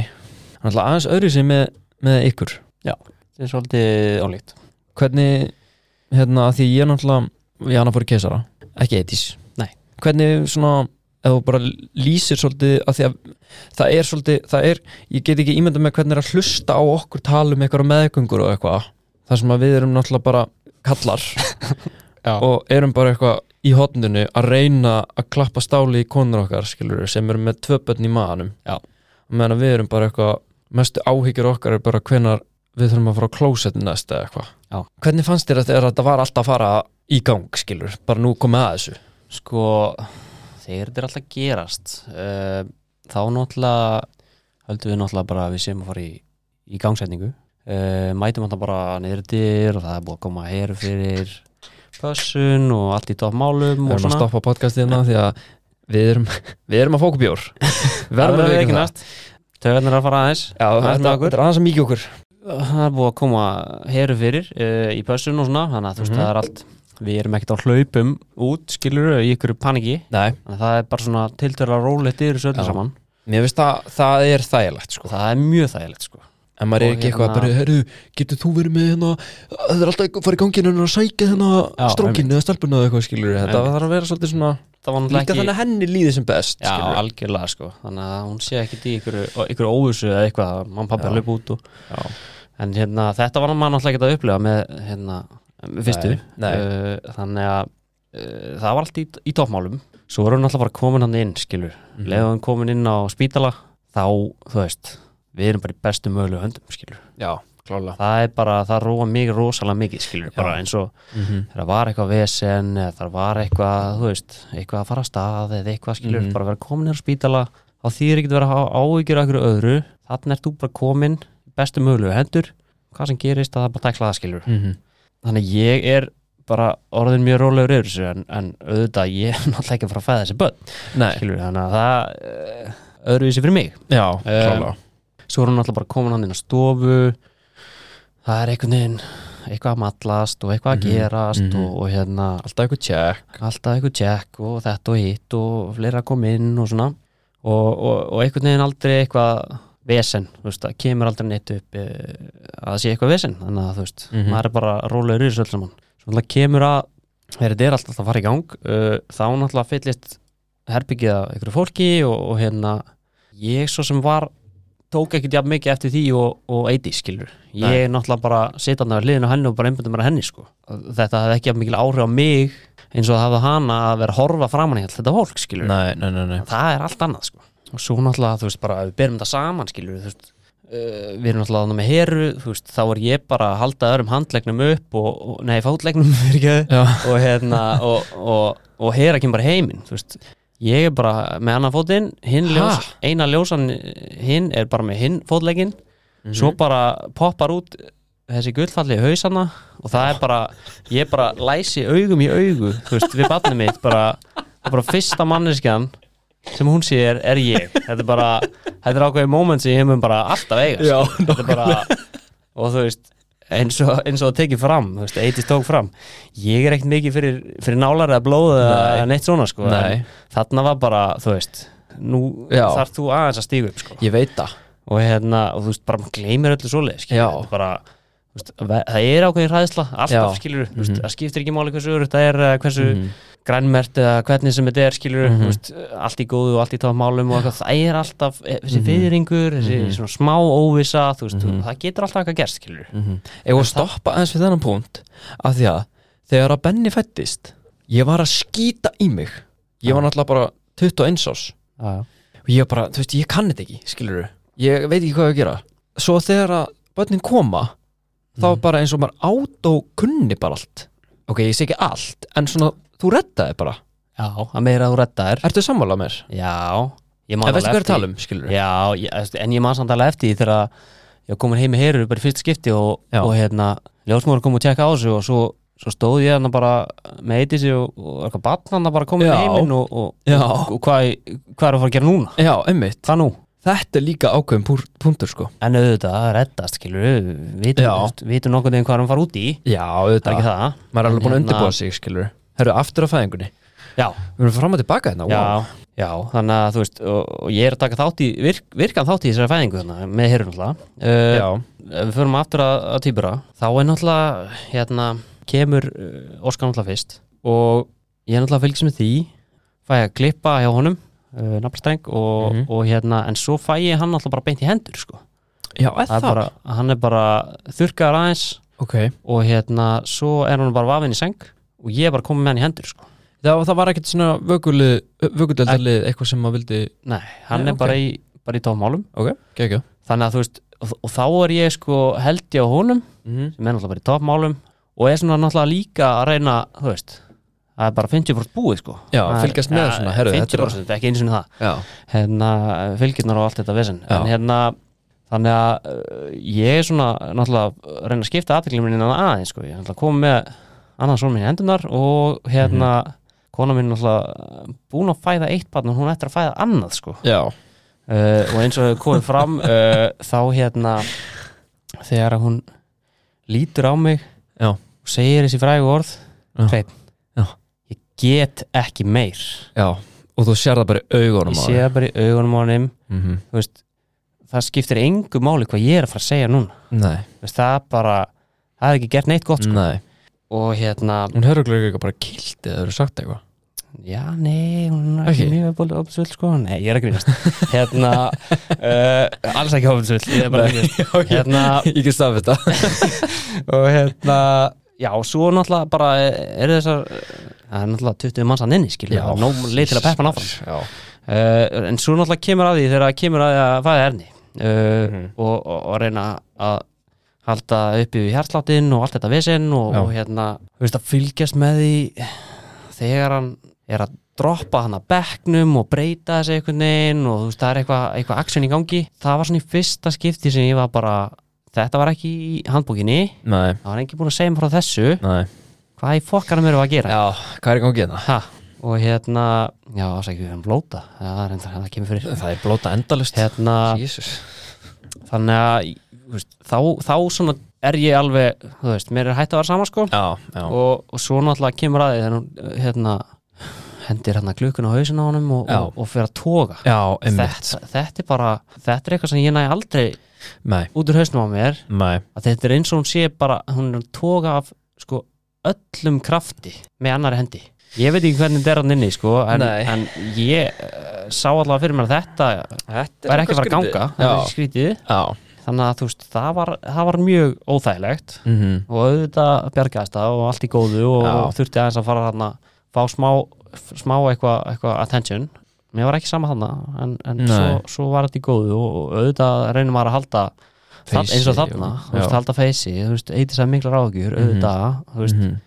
Speaker 1: náttúrulega aðeins öðru sem með, með ykkur
Speaker 2: það er svolítið ólíkt
Speaker 1: hvernig, hérna, að því ég náttúrulega Jana fór í keisara, ekki eitís
Speaker 2: Nei.
Speaker 1: hvernig svona ef þú bara lýsir svolítið að því að það er svolítið, það er ég get ekki ímynda með hvernig er að hlusta á okkur tala um eitthvað meðgöngur og eitthvað þar sem að við erum náttúrulega bara kallar
Speaker 2: Já.
Speaker 1: og erum bara eitthvað í hotninu að reyna að klappa stáli í konur okkar skilur sem eru með tvö börn í maðanum
Speaker 2: Já.
Speaker 1: meðan að við erum bara eitthvað mestu áhyggjur okkar er bara hvenar við þurfum að fara á klósetin næst eða eitthvað
Speaker 2: Já.
Speaker 1: hvernig fannst þér að þegar þetta var alltaf að fara í gang skilur, bara nú komið að þessu
Speaker 2: Sko, þegar þetta er alltaf gerast uh, þá náttúrulega höldum við náttúrulega bara að við séum að fara í, í gangsetningu uh, mætum alltaf bara niður dyr og það er búið að koma heru fyrir pössun og allt í toppmálum
Speaker 1: við
Speaker 2: og
Speaker 1: erum að
Speaker 2: svona
Speaker 1: stoppa podcastið hérna því að við erum, við erum að fóku bjór verðum að veikina
Speaker 2: næst Töðarnir að fara aðeins
Speaker 1: Já,
Speaker 2: Þetta
Speaker 1: þetta
Speaker 2: okkur.
Speaker 1: er aðeins að mikið okkur
Speaker 2: það er búið að koma heru fyrir uh, í pössun og svona þannig að þú veist
Speaker 1: Mhm.
Speaker 2: það er allt við erum ekkert á hlaupum út skilur í ykkur paniki
Speaker 1: Nei,
Speaker 2: Þannig að það er bara svona tiltöðlega rólegt yfir þessu öllu
Speaker 1: Já.
Speaker 2: saman
Speaker 1: mér finnst að það er þægilegt sko.
Speaker 2: það er mjög þægilegt sko
Speaker 1: en maður er
Speaker 2: Og
Speaker 1: ekki eitthvað
Speaker 2: hérna-
Speaker 1: bara, herru, getur þú verið með hérna það er alltaf að fara í gangin en að sækja hérna
Speaker 2: Já,
Speaker 1: strókinu eða stelpuna eða eitthvað skilur þetta
Speaker 2: Einmitt.
Speaker 1: þarf að vera svolítið svona
Speaker 2: það var
Speaker 1: líka
Speaker 2: náttúrulega ekki
Speaker 1: þannig að henni líði sem best
Speaker 2: Já,
Speaker 1: skilurðu.
Speaker 2: algjörlega sko Þannig að hún sé ekkert í ykkur, ykkur óvissu eða eitthvað að mann pappi
Speaker 1: Já.
Speaker 2: að löp út og,
Speaker 1: Já.
Speaker 2: En hérna, þetta var maður náttúrulega ekkert að upplifa með hérna, með fyrstu
Speaker 1: Nei, nei.
Speaker 2: Uh, Þannig að uh, það var allt í, í toppmálum Svo voru hún náttúrulega bara komin hann inn, skilur
Speaker 1: Mhm.
Speaker 2: mm. Leðu hann komin inn á spítala Þá, þú veist, við erum bara í bestu mögulegu höndum, skilur
Speaker 1: Já, klála
Speaker 2: það er bara, það róa mig rosalega mikið skilur,
Speaker 1: Já.
Speaker 2: bara eins og
Speaker 1: mm -hmm.
Speaker 2: þegar var eitthvað vesen eða það var eitthvað, þú veist, eitthvað að fara að stað eða eitthvað skilur,
Speaker 1: Mhm.
Speaker 2: bara vera komin hér á spítala þá þýðir ekkert að vera að hafa áhyggjur af einhverju öðru, þannig ert þú bara komin bestu mögulegu hendur, hvað sem gerist að það er bara tækla það skilur,
Speaker 1: Mhm.
Speaker 2: þannig að ég er bara orðin mjög rólegur yfir þessu en, en auðvitað ég er náttúrulega ekki að fara að fæða þessi börn
Speaker 1: Nei,
Speaker 2: skilur, þannig að það uh, öðruvísi fyrir mig
Speaker 1: já,
Speaker 2: klálega. svo er hún alltaf bara komin hann inn á stofu það er einhvern veginn eitthvað að mallast og eitthvað
Speaker 1: Mhm,
Speaker 2: að gerast
Speaker 1: mhm.
Speaker 2: Og, og hérna
Speaker 1: Alltaf eitthvað tjekk
Speaker 2: alltaf eitthvað tjekk og þetta og hitt og fleira að koma inn og svona og, og, og einhvern veginn aldrei eitthvað vesen, þú veist, það kemur aldrei neitt upp e, að það sé eitthvað vesen þannig að þú veist,
Speaker 1: Mhm.
Speaker 2: maður er bara rólegur í þessu öll saman svo náttúrulega kemur að þegar þetta er alltaf að fara í gang uh, þá náttúrulega fyllist herbyggið af einhverju fólki og, og hérna ég svo sem var tók ekkert jafn mikið eftir því og, og eiti skilur ég er náttúrulega bara sitandi á hliðinu á henni og bara einbundum mér að henni sko þetta hafði ekki jafn mikil áhrif á mig eins og það hafði hana að vera að horfa framan í allt þetta fólk skilur
Speaker 1: Nei, nei, nei, nei
Speaker 2: það er allt annað sko og svo náttúrulega þú veist bara ef við berum þetta saman skilur þú veist Uh, við erum náttúrulega þarna með heru þú veist, þá er ég bara að halda öðrum handlegnum upp og, og nei, fátlegnum fyrirgefðu,
Speaker 1: Já,
Speaker 2: og hérna og, og, og hera kemur bara heiminn þú veist ég er bara með annan fótinn hinn
Speaker 1: Ha?
Speaker 2: ljós, eina ljósan eh, hinn er bara með hinn fótlegginn svo bara poppar út þessi gullfalli hausana og það er bara, ég bara læsi augum í augu, þú veist, við barnum mitt bara, það er bara fyrsta manneskjan sem hún sér er ég þetta er bara, þetta er ákveðið moment sem ég mun bara alltaf eiga sko.
Speaker 1: Já,
Speaker 2: Þetta er bara, og þú veist eins og, eins og það tekið fram, þú veist, eitist tók fram ég er ekkert mikið fyrir, fyrir nálar eða blóð
Speaker 1: Nei.
Speaker 2: eða neitt svona sko,
Speaker 1: Nei.
Speaker 2: en þarna var bara, þú veist nú
Speaker 1: Já.
Speaker 2: þarf þú aðeins að stíga upp sko
Speaker 1: ég veit það
Speaker 2: og hérna, og þú veist, bara maður gleymir öllu
Speaker 1: Já.
Speaker 2: svoleiðis, skilur, þetta er bara þú veist, ve- það er ákveðin hræðsla, alltaf
Speaker 1: Já.
Speaker 2: skilur þú
Speaker 1: Mhm.
Speaker 2: veist, það skiptir ekki máli hversu örugt það er eða hversu grænmert eða hvernig sem þetta er skilur,
Speaker 1: Mhm.
Speaker 2: þú veist, allt í góðu og allt í tómálum og eitthvað, það er alltaf eh, þessi
Speaker 1: Mhm.
Speaker 2: viðringur, þessi
Speaker 1: Mhm.
Speaker 2: svona smá óvisa, þú veist,
Speaker 1: Mhm.
Speaker 2: það getur alltaf eitthvað gerst skilur,
Speaker 1: Ég var að stoppa aðeins við þennan punkt af því að þegar að Benni fættist ég var að skýta í mig ég var náttúrulega bara 21 ás
Speaker 2: já,
Speaker 1: og ég bara, þú veist, ég kann þetta ekki, skilur ég veit ekki hvað ég á að gera svo þegar að börnin koma þá
Speaker 2: Mhm.
Speaker 1: bara eins og maður át og kunni bara allt ok, ég sé ekki allt, en svona, þú reddaði bara
Speaker 2: já, að meira að þú redda þér
Speaker 1: ertu sammála mér?
Speaker 2: já, ég man
Speaker 1: En veistu
Speaker 2: alveg
Speaker 1: hvað er að
Speaker 2: eftir
Speaker 1: tala um, skilur
Speaker 2: Já, ég, þú veist, en ég man samt alveg eftir því þegar að ég var komin heim í heyrur bara í fyrst skipti og,
Speaker 1: Já.
Speaker 2: og hérna ljósmóður kom og tjekka á þessu og svo, svo stóð ég hann bara með eitt í sig og, og eitthvað batn hann bara komin
Speaker 1: Já.
Speaker 2: heiminn og, og,
Speaker 1: Já.
Speaker 2: og, og hvað, hvað er að fara að gera núna?
Speaker 1: Já, einmitt
Speaker 2: Hvað nú?
Speaker 1: Þetta er líka ákveðum púr- punktur sko
Speaker 2: En auðvitað, það er reddast, skilur við
Speaker 1: Já.
Speaker 2: vitum nokkuð veginn hvað er að fara út í
Speaker 1: Já,
Speaker 2: það er
Speaker 1: auðvitað
Speaker 2: ekki það
Speaker 1: Maður er alveg búin að
Speaker 2: En hérna-
Speaker 1: undirbúa sig, skilur Herru, aftur á fæðingunni
Speaker 2: Já,
Speaker 1: Við erum fram og tilbaka hérna,
Speaker 2: já,
Speaker 1: wow
Speaker 2: já, þannig að þú veist og, og ég er að taka þátt í, virk, virkan þátt í þessari fæðingu þarna, með heyrun alltaf uh,
Speaker 1: Já,
Speaker 2: ef við förum aftur að, að týpura þá er náttúrulega hérna, kemur uh, Óskar náttúrulega fyrst og ég er náttúrulega fylgis með því fæ ég að klippa hjá honum uh, nafnstreng og,
Speaker 1: Mhm.
Speaker 2: og hérna en svo fæ ég hann náttúrulega bara beint í hendur sko.
Speaker 1: já er
Speaker 2: er
Speaker 1: það,
Speaker 2: bara, hann er bara þurrkaður aðeins
Speaker 1: Ok
Speaker 2: og hérna svo er hann bara vafinn í seng og ég er bara komið með hann í hendur sko.
Speaker 1: Það, það var ekkert svona vökulið, vökuldeldalið Eitthvað sem maður vildi
Speaker 2: nei, hann
Speaker 1: Nei,
Speaker 2: er
Speaker 1: ok.
Speaker 2: bara í, bara í tómálum
Speaker 1: Ok, geggjá
Speaker 2: þannig að þú veist og, og þá er ég sko held ég á honum sem er náttúrulega bara í toppmálum og er svona náttúrulega líka að reyna þú veist, það er bara 50% búið sko
Speaker 1: Já,
Speaker 2: Það er-
Speaker 1: fylgjast með
Speaker 2: ja,
Speaker 1: svona, herru, þetta er-
Speaker 2: 50% ekki eins og það
Speaker 1: Já
Speaker 2: hérna, fylgjurnar og allt þetta vesen
Speaker 1: Já.
Speaker 2: en hérna, þannig að uh, ég er svona náttúrulega að reyna að skipta aðteklum minni innan aðeins sko, ég er náttúrulega komið með annan svona minni hendunar og hérna
Speaker 1: Mhm.
Speaker 2: kona mín er náttúrulega búin að fæða eitt barn og hún er eftir að fæða annað sko
Speaker 1: Já
Speaker 2: uh, og eins og hefur komið fram uh, þá hérna þegar hún lítur á mig
Speaker 1: Já.
Speaker 2: og segir þessi frægu orð
Speaker 1: Já.
Speaker 2: Hreinn,
Speaker 1: Já.
Speaker 2: ég get ekki meir
Speaker 1: Já Og þú sér það bara í augunum
Speaker 2: ég
Speaker 1: á
Speaker 2: sé
Speaker 1: þeim.
Speaker 2: það bara í augunum á honum
Speaker 1: Mhm.
Speaker 2: þú veist, það skiptir engu máli hvað ég er að fara að segja núna
Speaker 1: Nei,
Speaker 2: Þú veist, það bara, það hefði ekki gert neitt gott sko.
Speaker 1: nei
Speaker 2: og hérna,
Speaker 1: Hún hefur örugglega eitthvað bara kilt eða hefur sagt eitthvað
Speaker 2: já nei hún er ekki
Speaker 1: Ekki?
Speaker 2: mjög búin opsvill sko nei, ég er ekki minnast hérna, uh, alls ekki opsvill ég er bara
Speaker 1: Nei,
Speaker 2: minnast
Speaker 1: já, ég-
Speaker 2: hérna,
Speaker 1: Ég get stað þetta
Speaker 2: og hérna já, svo náttúrulega bara er þessar það er náttúrulega 20 manns að inni skilur það er nóg leið til að peppa hann áfram
Speaker 1: Já
Speaker 2: uh, en svo eh, Mhm. náttúrulega kemur að því þegar það kemur að því að fæða erni uh, og, og, og reyna að halda upp yfir hjartláttinn og allt þetta vesinn og,
Speaker 1: Já.
Speaker 2: og hérna, þú veist að fylgjast með því þegar hann er að droppa hann að bekknum og breyta þessi einhvern veginn og þú veist það er eitthvað eitthva action í gangi, það var svona í fyrsta skipti sem ég var bara, þetta var ekki í handbókinni,
Speaker 1: Nei,
Speaker 2: það var engin búin að segja mér frá þessu,
Speaker 1: nei
Speaker 2: hvað í fokkanum erum við að gera
Speaker 1: Já, hvað er í gangi hérna?
Speaker 2: ha, og hérna já, ásækjum við erum blóta já, reyndar, það kemur fyrir
Speaker 1: Það er blóta endalust
Speaker 2: hérna,
Speaker 1: Jésus
Speaker 2: þannig að þú veist, þá, þá svona er ég alveg þú veist, mér er hætt að vera saman sko
Speaker 1: Já, já
Speaker 2: og, og svo náttúrulega kemur að því þegar hún hérna, hendir hérna klukkun á hausin á honum og,
Speaker 1: Já.
Speaker 2: og, og fyrir að toga
Speaker 1: Já, einmitt
Speaker 2: þetta, þetta er bara, þetta er eitthvað sem ég næ aldrei
Speaker 1: Nei,
Speaker 2: út úr hausnum á mér
Speaker 1: nei
Speaker 2: að þetta er eins og hún sé bara hún er að toga af sko öllum krafti með annari hendi ég veit ekki hvernig þetta er hann inni sko en,
Speaker 1: Nei.
Speaker 2: en ég uh, sá allavega fyrir mér að þetta
Speaker 1: Þetta
Speaker 2: væri ekki að fara að ganga þetta
Speaker 1: Já,
Speaker 2: er skrítið,
Speaker 1: já
Speaker 2: þannig að þú veist það var, það var mjög óþægilegt
Speaker 1: mm
Speaker 2: og auðvitað bjargaðist það og allt í góðu og,
Speaker 1: Já.
Speaker 2: og þurfti aðeins að fara hann að fá smá, smá eitthvað eitthva attention mér var ekki sama hann en, en
Speaker 1: Nei.
Speaker 2: svo, svo var þetta í góðu og og auðvitað reynir maður að halda Það, eins og þarna, þú veist, halda feysi þú veist, eitir sem mikla
Speaker 1: Mhm.
Speaker 2: ráðugjur, auðvitað þú veist,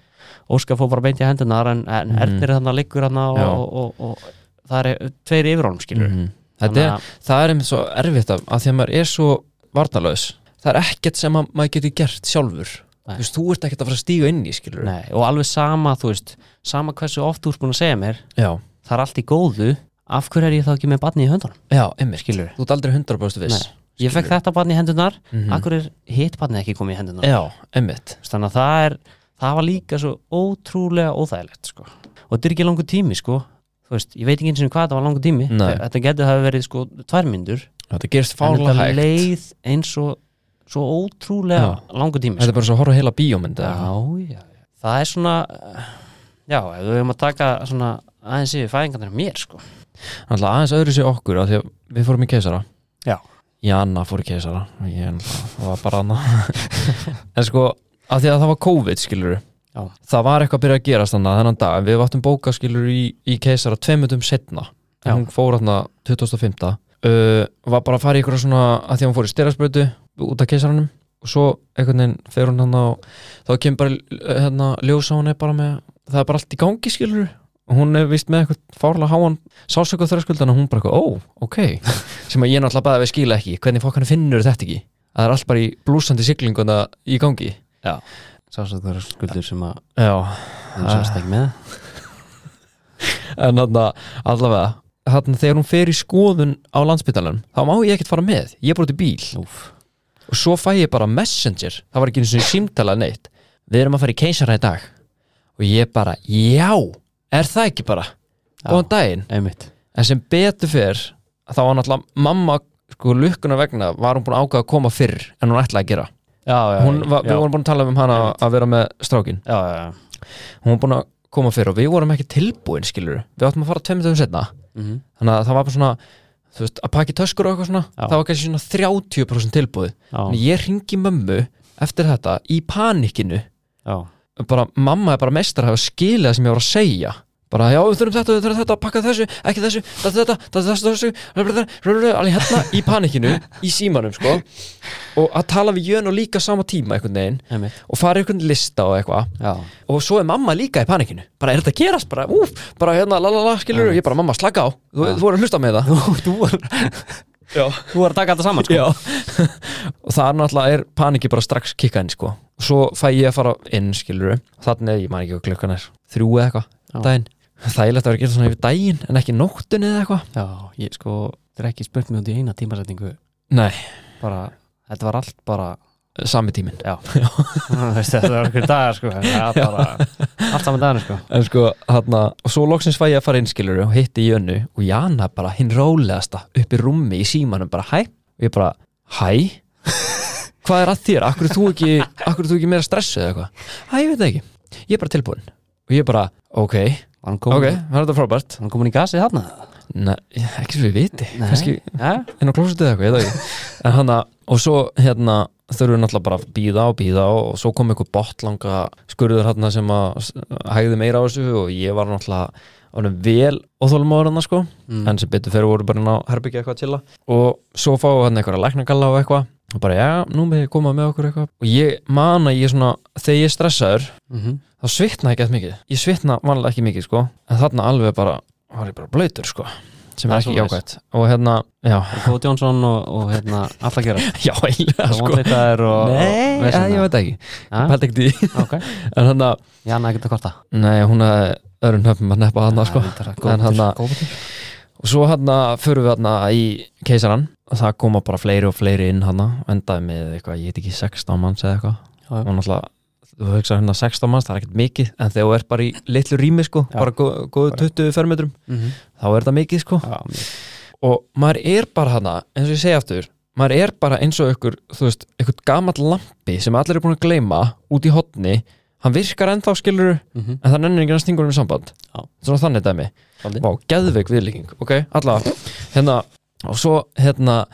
Speaker 2: Óskar fór bara beint í hendunar en, en
Speaker 1: Mhm.
Speaker 2: Ernir þannig að liggur hann og,
Speaker 1: Já.
Speaker 2: og, og, og það er tveir yfir honum skilur
Speaker 1: Þetta er, það er einmitt svo erfitt af, af því að maður er svo varnalaus það er ekkert sem að maður getur gert sjálfur
Speaker 2: Nei.
Speaker 1: þú veist, þú ert ekkert að fara að stíga inn í skilur
Speaker 2: nei, og alveg sama, þú veist sama hversu oft þú ert búin að segja mér
Speaker 1: já,
Speaker 2: það er allt í góðu, af hverju er ég þá ekki með barni í höndunum,
Speaker 1: já, einmitt
Speaker 2: skilur
Speaker 1: þú ert aldrei 100% viss
Speaker 2: Nei. ég fekk þetta barni í hendunar,
Speaker 1: Mhm.
Speaker 2: af hverju er hitt barni ekki komið í hendunar
Speaker 1: já, einmitt,
Speaker 2: Þú veist, þannig að það er það var líka svo ótrúlega óþægilegt sko. og þetta er ekki langur tími sko. Þú veist, ég veit ekki eins og hvað þetta var langur tími
Speaker 1: Nei.
Speaker 2: þetta getur hafa verið sko, tvær myndur
Speaker 1: þetta gerist
Speaker 2: en
Speaker 1: fála
Speaker 2: þetta
Speaker 1: hægt
Speaker 2: leið eins og svo ótrúlega langur tími sko.
Speaker 1: þetta er bara svo að horfa á heila bíómynd eða eitthvað.
Speaker 2: já, já, já. það er svona eh, já, ef við höfum að taka svona aðeins yfir fæðingarnir af mér sko.
Speaker 1: Náttúrulega aðeins öðru sér okkur af því að við fórum í keisara
Speaker 2: Já.
Speaker 1: Janna fór í keisara ég náttúrulega var bara hana en sko, af því að það var COVID skilur
Speaker 2: Já.
Speaker 1: það var eitthvað að byrja að gerast þannig þennan dag en við vatnum bóka skilur í, í keisara tveimundum setna
Speaker 2: Já.
Speaker 1: en hún fór þarna 2005 uh, var bara að fara í eitthvað svona af því að hún fór í styrasbrötu út af keisaranum og svo einhvern veginn fer hún hann á þá kemur bara uh, hérna, ljós á hún er bara með það er bara allt í gangi skilur hún er vist með eitthvað fárlega háan sásöku þröskuldana hún bara eitthvað, ó, ok sem að ég náttúrulega bæði að við skila ekki hvernig fokkan finnur þetta ekki að það er allt bara í blúsandi siglinguna í gangi
Speaker 2: sásökkur skuldur sem að
Speaker 1: já,
Speaker 2: hún sást ekki með
Speaker 1: en hann allavega hann þegar hún fer í skoðun á landsbytalan þá má ég ekkert fara með, ég er bara út í bíl
Speaker 2: Úf.
Speaker 1: og svo fæ ég bara messenger það var ekki eins og símtala neitt við erum að fara í keisara í dag og ég bara, já, er það ekki bara
Speaker 2: Já.
Speaker 1: góðan daginn
Speaker 2: einmitt
Speaker 1: en sem betur fyrr þá var náttúrulega mamma sko lukkuna vegna var hún búin að ákvaða að koma fyrr en hún ætlaði að gera
Speaker 2: já, já,
Speaker 1: hún var,
Speaker 2: já,
Speaker 1: við vorum búin að tala um hana að vera með strákin
Speaker 2: já, já, já.
Speaker 1: hún var búin að koma fyrr og við vorum ekki tilbúin skilur við áttum að fara tveimur dögum setna
Speaker 2: Mhm.
Speaker 1: þannig að það var bara svona þú veist, að pakki töskur og eitthvað svona
Speaker 2: Já.
Speaker 1: það var kannski svona 30% tilbúið
Speaker 2: já,
Speaker 1: en ég ringi mömmu eftir þetta í panikinu
Speaker 2: já.
Speaker 1: bara, mamma er bara mestar að hafa skilið það sem ég var að segja bara, já, við þurfum þetta, við þurfum þetta, pakka þessu ekki þessu, þetta, þetta, þetta, þessu, þessu blablabla, blablabla, alveg hérna í panikinu í símanum, sko og að tala við Jön og líka á sama tíma einhvern veginn
Speaker 2: einmitt
Speaker 1: og fara í einhvern lista og eitthvað
Speaker 2: já.
Speaker 1: og svo er mamma líka í panikinu bara, er þetta að gerast, bara, úf, bara hérna lalala, skilur, ég bara, mamma, slaka á, þú, þú er að hlusta með það
Speaker 2: þú, þú, var,
Speaker 1: Já.
Speaker 2: þú var að taka þetta saman sko.
Speaker 1: Já Og það er náttúrulega er paniki bara strax kikka inn sko Og svo fæ ég að fara inn skilur Þannig er, ég man ekki hvað klukkan er Þrjú eða
Speaker 2: Já.
Speaker 1: eitthvað daginn Þægilegt að vera að gera svona yfir daginn En ekki nóttunni eða eitthvað
Speaker 2: Já, ég sko, þetta er ekki spurt mjög út í eina tímasetningu
Speaker 1: Nei,
Speaker 2: bara, þetta var allt bara
Speaker 1: sami tíminn
Speaker 2: já, Þú veist, þetta var okkur dagar sko en það var bara, allt saman dagar sko
Speaker 1: En sko, þarna Og svo loksins fæ ég að fara inn skilur Og hitti ég önnu Og Jana bara hinn rólegasta Upp í rúmi í símanum bara hæ Og ég bara hæ Hvað er að þér? Akkur er þú ekki, akkur er þú ekki meira stressuð eða eitthvað? Hæ, ég veit það ekki. Ég er bara tilbúin. Og ég bara, ok,
Speaker 2: var hann
Speaker 1: ok,
Speaker 2: komin,
Speaker 1: það er þetta frábært.
Speaker 2: var hann komin í gasið þarna?
Speaker 1: Nei, ekki sem við viti
Speaker 2: Nei.
Speaker 1: kannski
Speaker 2: ja?
Speaker 1: inn á klósitið eða eitthvað, ég veit það ekki en hana, og svo hérna þurfum við náttúrulega bara að býða og býða og svo kom einhver botlanga skurður hérna sem að s- hægði meira á þessu og ég var náttúrulega orðin vel óþólmáður hann sko
Speaker 2: mm.
Speaker 1: en sem betur fyrir voru bara inn á herbyggja eitthvað til og svo fáum við hann einhverja hérna læknagalla og eitthvað og bara já, nú með ég koma með okkur eitthvað og ég man að ég svona, þegar ég er stressaður
Speaker 2: mm
Speaker 1: þá svitna ekki eftir mikið ég svitna vanlega ekki mikið sko en þarna alveg bara, var ég bara blöytur sko sem
Speaker 2: Það
Speaker 1: er
Speaker 2: er
Speaker 1: ekki
Speaker 2: svoleiðis.
Speaker 1: jákvæmt og hérna, já,
Speaker 2: Góð Jónsson og, og hérna alltaf gera
Speaker 1: já, eiginlega
Speaker 2: Það
Speaker 1: sko
Speaker 2: vantleitaðir og
Speaker 1: Nei,
Speaker 2: og
Speaker 1: að, ég veit ekki,
Speaker 2: veit
Speaker 1: pælt ekki í því.
Speaker 2: Ok,
Speaker 1: en hann að,
Speaker 2: já, næ, ekki að korta
Speaker 1: nei, hún hafði öðrum höfnum að neppa hann sko En
Speaker 2: Góð
Speaker 1: þarna- og svo hann að förum við hann í keisaran og það koma bara fleiri og fleiri inn hann endaði með eitthvað, ég heit ekki 16 manns eða eitthvað og náttúrulega þú hugsa hérna 16 manns, það er ekkert mikið en þegar þú ert bara í litlu rými sko
Speaker 2: Já.
Speaker 1: bara gó- góðu
Speaker 2: Bara-
Speaker 1: 20 fermetrum, þá er það mikið sko og maður er bara hana, eins og ég segi aftur maður er bara eins og ykkur þú veist, ykkur gamall lampi sem allir eru búin að gleyma út í hotni hann virkar ennþá skilur en það nennir ekki að stingur um samband
Speaker 2: Já.
Speaker 1: svona þannig dæmi, vá, geðveik viðlíking ok, allavega, hérna og svo hérna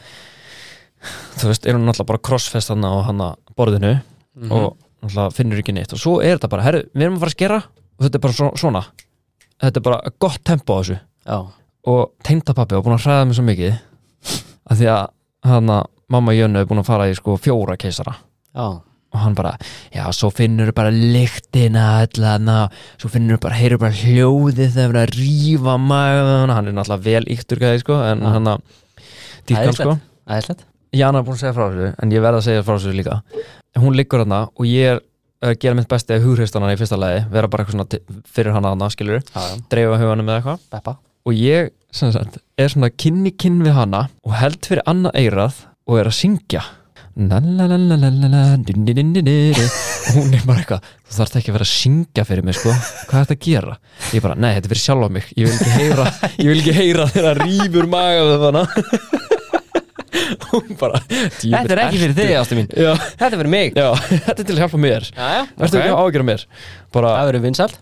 Speaker 1: þú veist, er hún alltaf bara crossfest hann á hann borðinu
Speaker 2: Mhm.
Speaker 1: og náttúrulega finnur ekki neitt og svo er þetta bara, herru, við erum að fara að skera og þetta er bara svo, svona þetta er bara gott tempo á þessu
Speaker 2: Já,
Speaker 1: og tengdapappi var búin að hræða mig svo mikið af því að hana, mamma Jönnu er búin að fara í sko fjóra keisara
Speaker 2: já,
Speaker 1: og hann bara, já, svo finnur bara lyktina, allana svo finnur bara, heyrur bara hljóðið þegar verið að rífa maður hann er náttúrulega vel yktur gæði, sko en
Speaker 2: Já.
Speaker 1: hann að dýrkan,
Speaker 2: Æðislegt.
Speaker 1: sko
Speaker 2: æðislegt
Speaker 1: Jana er búin að segja frá þessu, en ég verð að segja frá þessu líka hún liggur hana og ég er að gera mitt besti að hughrist hana í fyrsta lagi vera bara eitthvað svona til- fyrir hana hana, skilur
Speaker 2: Já, já,
Speaker 1: dreifa huganum með eitthvað
Speaker 2: Beppa
Speaker 1: og ég, sem sagt, er svona kynni kinn við hana og held fyrir annað eirað og er að syngja La la la la la la la, din din din din din. og hún er bara eitthvað þú þarft ekki að vera að syngja fyrir mig sko hvað er þetta að gera? ég bara, nei, þetta er fyrir sjálfa mig ég vil ekki heyra, ég vil ekki heyra þegar það rýfur maga við hana hún bara
Speaker 2: Þetta er ekki fyrir þig, ástu mín
Speaker 1: já,
Speaker 2: Þetta er fyrir mig
Speaker 1: já, þetta er til að hjálpa mér
Speaker 2: Já, já,
Speaker 1: Ertu ekki að ágjöra mér? Bara,
Speaker 2: Það verður vinsalt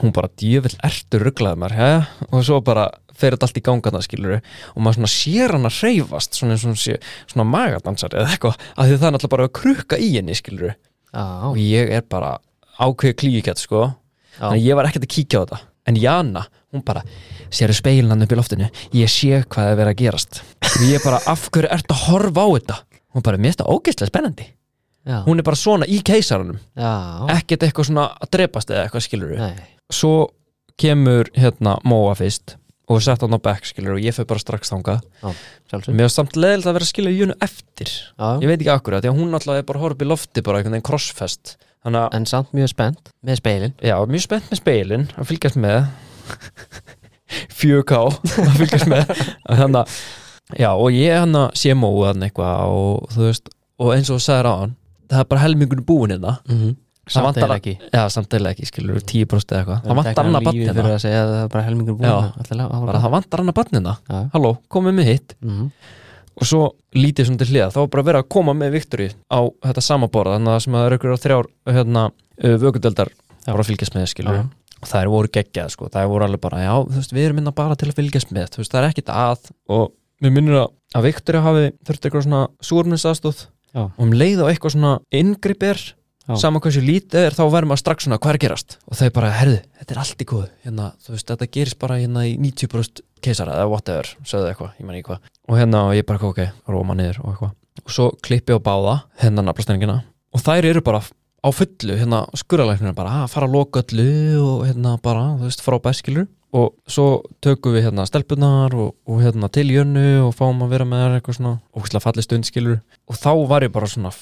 Speaker 1: hún bara djöfell ertu rugglaði maður ja? og svo bara fer þetta allt í ganga það skilur og maður svona sér hann að hreyfast svona eins og hún sé svona magadansar eða eitthvað af því það er náttúrulega bara að krukka í henni skilur og
Speaker 2: Já,
Speaker 1: ég er bara ákveð klíkett sko
Speaker 2: Já.
Speaker 1: þannig að ég var ekkert að kíkja á þetta en Jana, hún bara séru speilan upp í loftinu, ég sé hvað það er verið að gerast og ég bara af hverju ertu að horfa á þetta hún bara, mér er þetta ógeðslega spennandi
Speaker 2: já,
Speaker 1: hún er bara svona í keisaranum
Speaker 2: já
Speaker 1: ekkert eitthvað svona að drepast eða eitthvað skilur
Speaker 2: Nei,
Speaker 1: svo kemur hérna Móa fyrst og við setja hann á back skilur og ég fyrir bara strax þangað
Speaker 2: sjálfsög
Speaker 1: mér er samt leðilt að vera að skilja Jönu eftir
Speaker 2: Já,
Speaker 1: ég veit ekki akkur því að hún alltaf er bara horfið í lofti bara einhvern veginn crossfest þannig að
Speaker 2: en samt mjög spennt Með speilin
Speaker 1: já, mjög spennt með speilin að fylgjast með 4K að fylgjast með þannig að já og ég hann að sé Móa hann eitthvað og þú veist og eins og þú sagðir á hann það er bara helmingunni búin hérna Það vantar
Speaker 2: er
Speaker 1: að-
Speaker 2: ekki
Speaker 1: já samtilega ekki skilur 10% eða eitthvað það vantar hann að
Speaker 2: batna
Speaker 1: batnina
Speaker 2: fyrir að segja að það er bara helmingur búin
Speaker 1: Já.
Speaker 2: Já,
Speaker 1: bara það vantar hann að batnina
Speaker 2: Já,
Speaker 1: halló, komið með hitt
Speaker 2: mhm,
Speaker 1: og svo lítið svona til hliða, þá var bara verið að koma með Viktori á þetta samaborða þannig að sem að það eru ykkur á þrjár hérna, vökudeldar bara að fylgjast með skilur
Speaker 2: já,
Speaker 1: og þær voru geggjað sko, þær voru alveg bara já, þú veist, við erum minna bara til að fylgjast með þú veist, það er ekkit að og mér minnir að, að Viktori hafi þurft eitthvað svona súrumnisastóð
Speaker 2: Já.
Speaker 1: og um leið og eitthvað svona inngrip er
Speaker 2: Já.
Speaker 1: sama hversu lítið er þá verðum að strax svona hvað er að gerast og þau bara, herðu, þetta er allt í góð hérna, þú veist, þetta gerist bara hérna í 90% keisara eða whatever, sögðu eitthvað, ég man ekki hvað og hérna og ég bara, ok, róma niður og eitthvað og svo klippi á báða, hérna naflastenningina og þær eru bara á fullu, hérna skurralæknir bara að fara að loka öllu og hérna bara, þú veist, frá bæskilur og svo tökum við hérna stelpunar og, og hérna til jönnu og fáum að vera með þær eitthvað svona ógustlega falli stundskilur og þá var ég bara svona,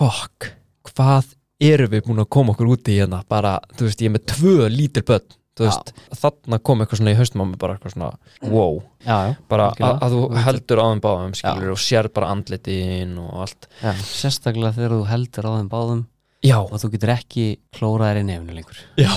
Speaker 1: fuck hvað erum við búin að koma okkur út í hérna bara, þú veist, ég er með tvö lítil börn þú
Speaker 2: Já.
Speaker 1: veist, þarna kom eitthvað svona í haustum á mig bara eitthvað svona, wow
Speaker 2: já, já,
Speaker 1: bara að,
Speaker 2: Algjörlega.
Speaker 1: að þú
Speaker 2: Þú veist-
Speaker 1: heldur á þeim báðum skilur og sér bara andlitin og allt
Speaker 2: já Sérstaklega þegar þú heldur á þeim báðum
Speaker 1: já,
Speaker 2: og þú getur ekki klóraðir í nefnu lengur
Speaker 1: já,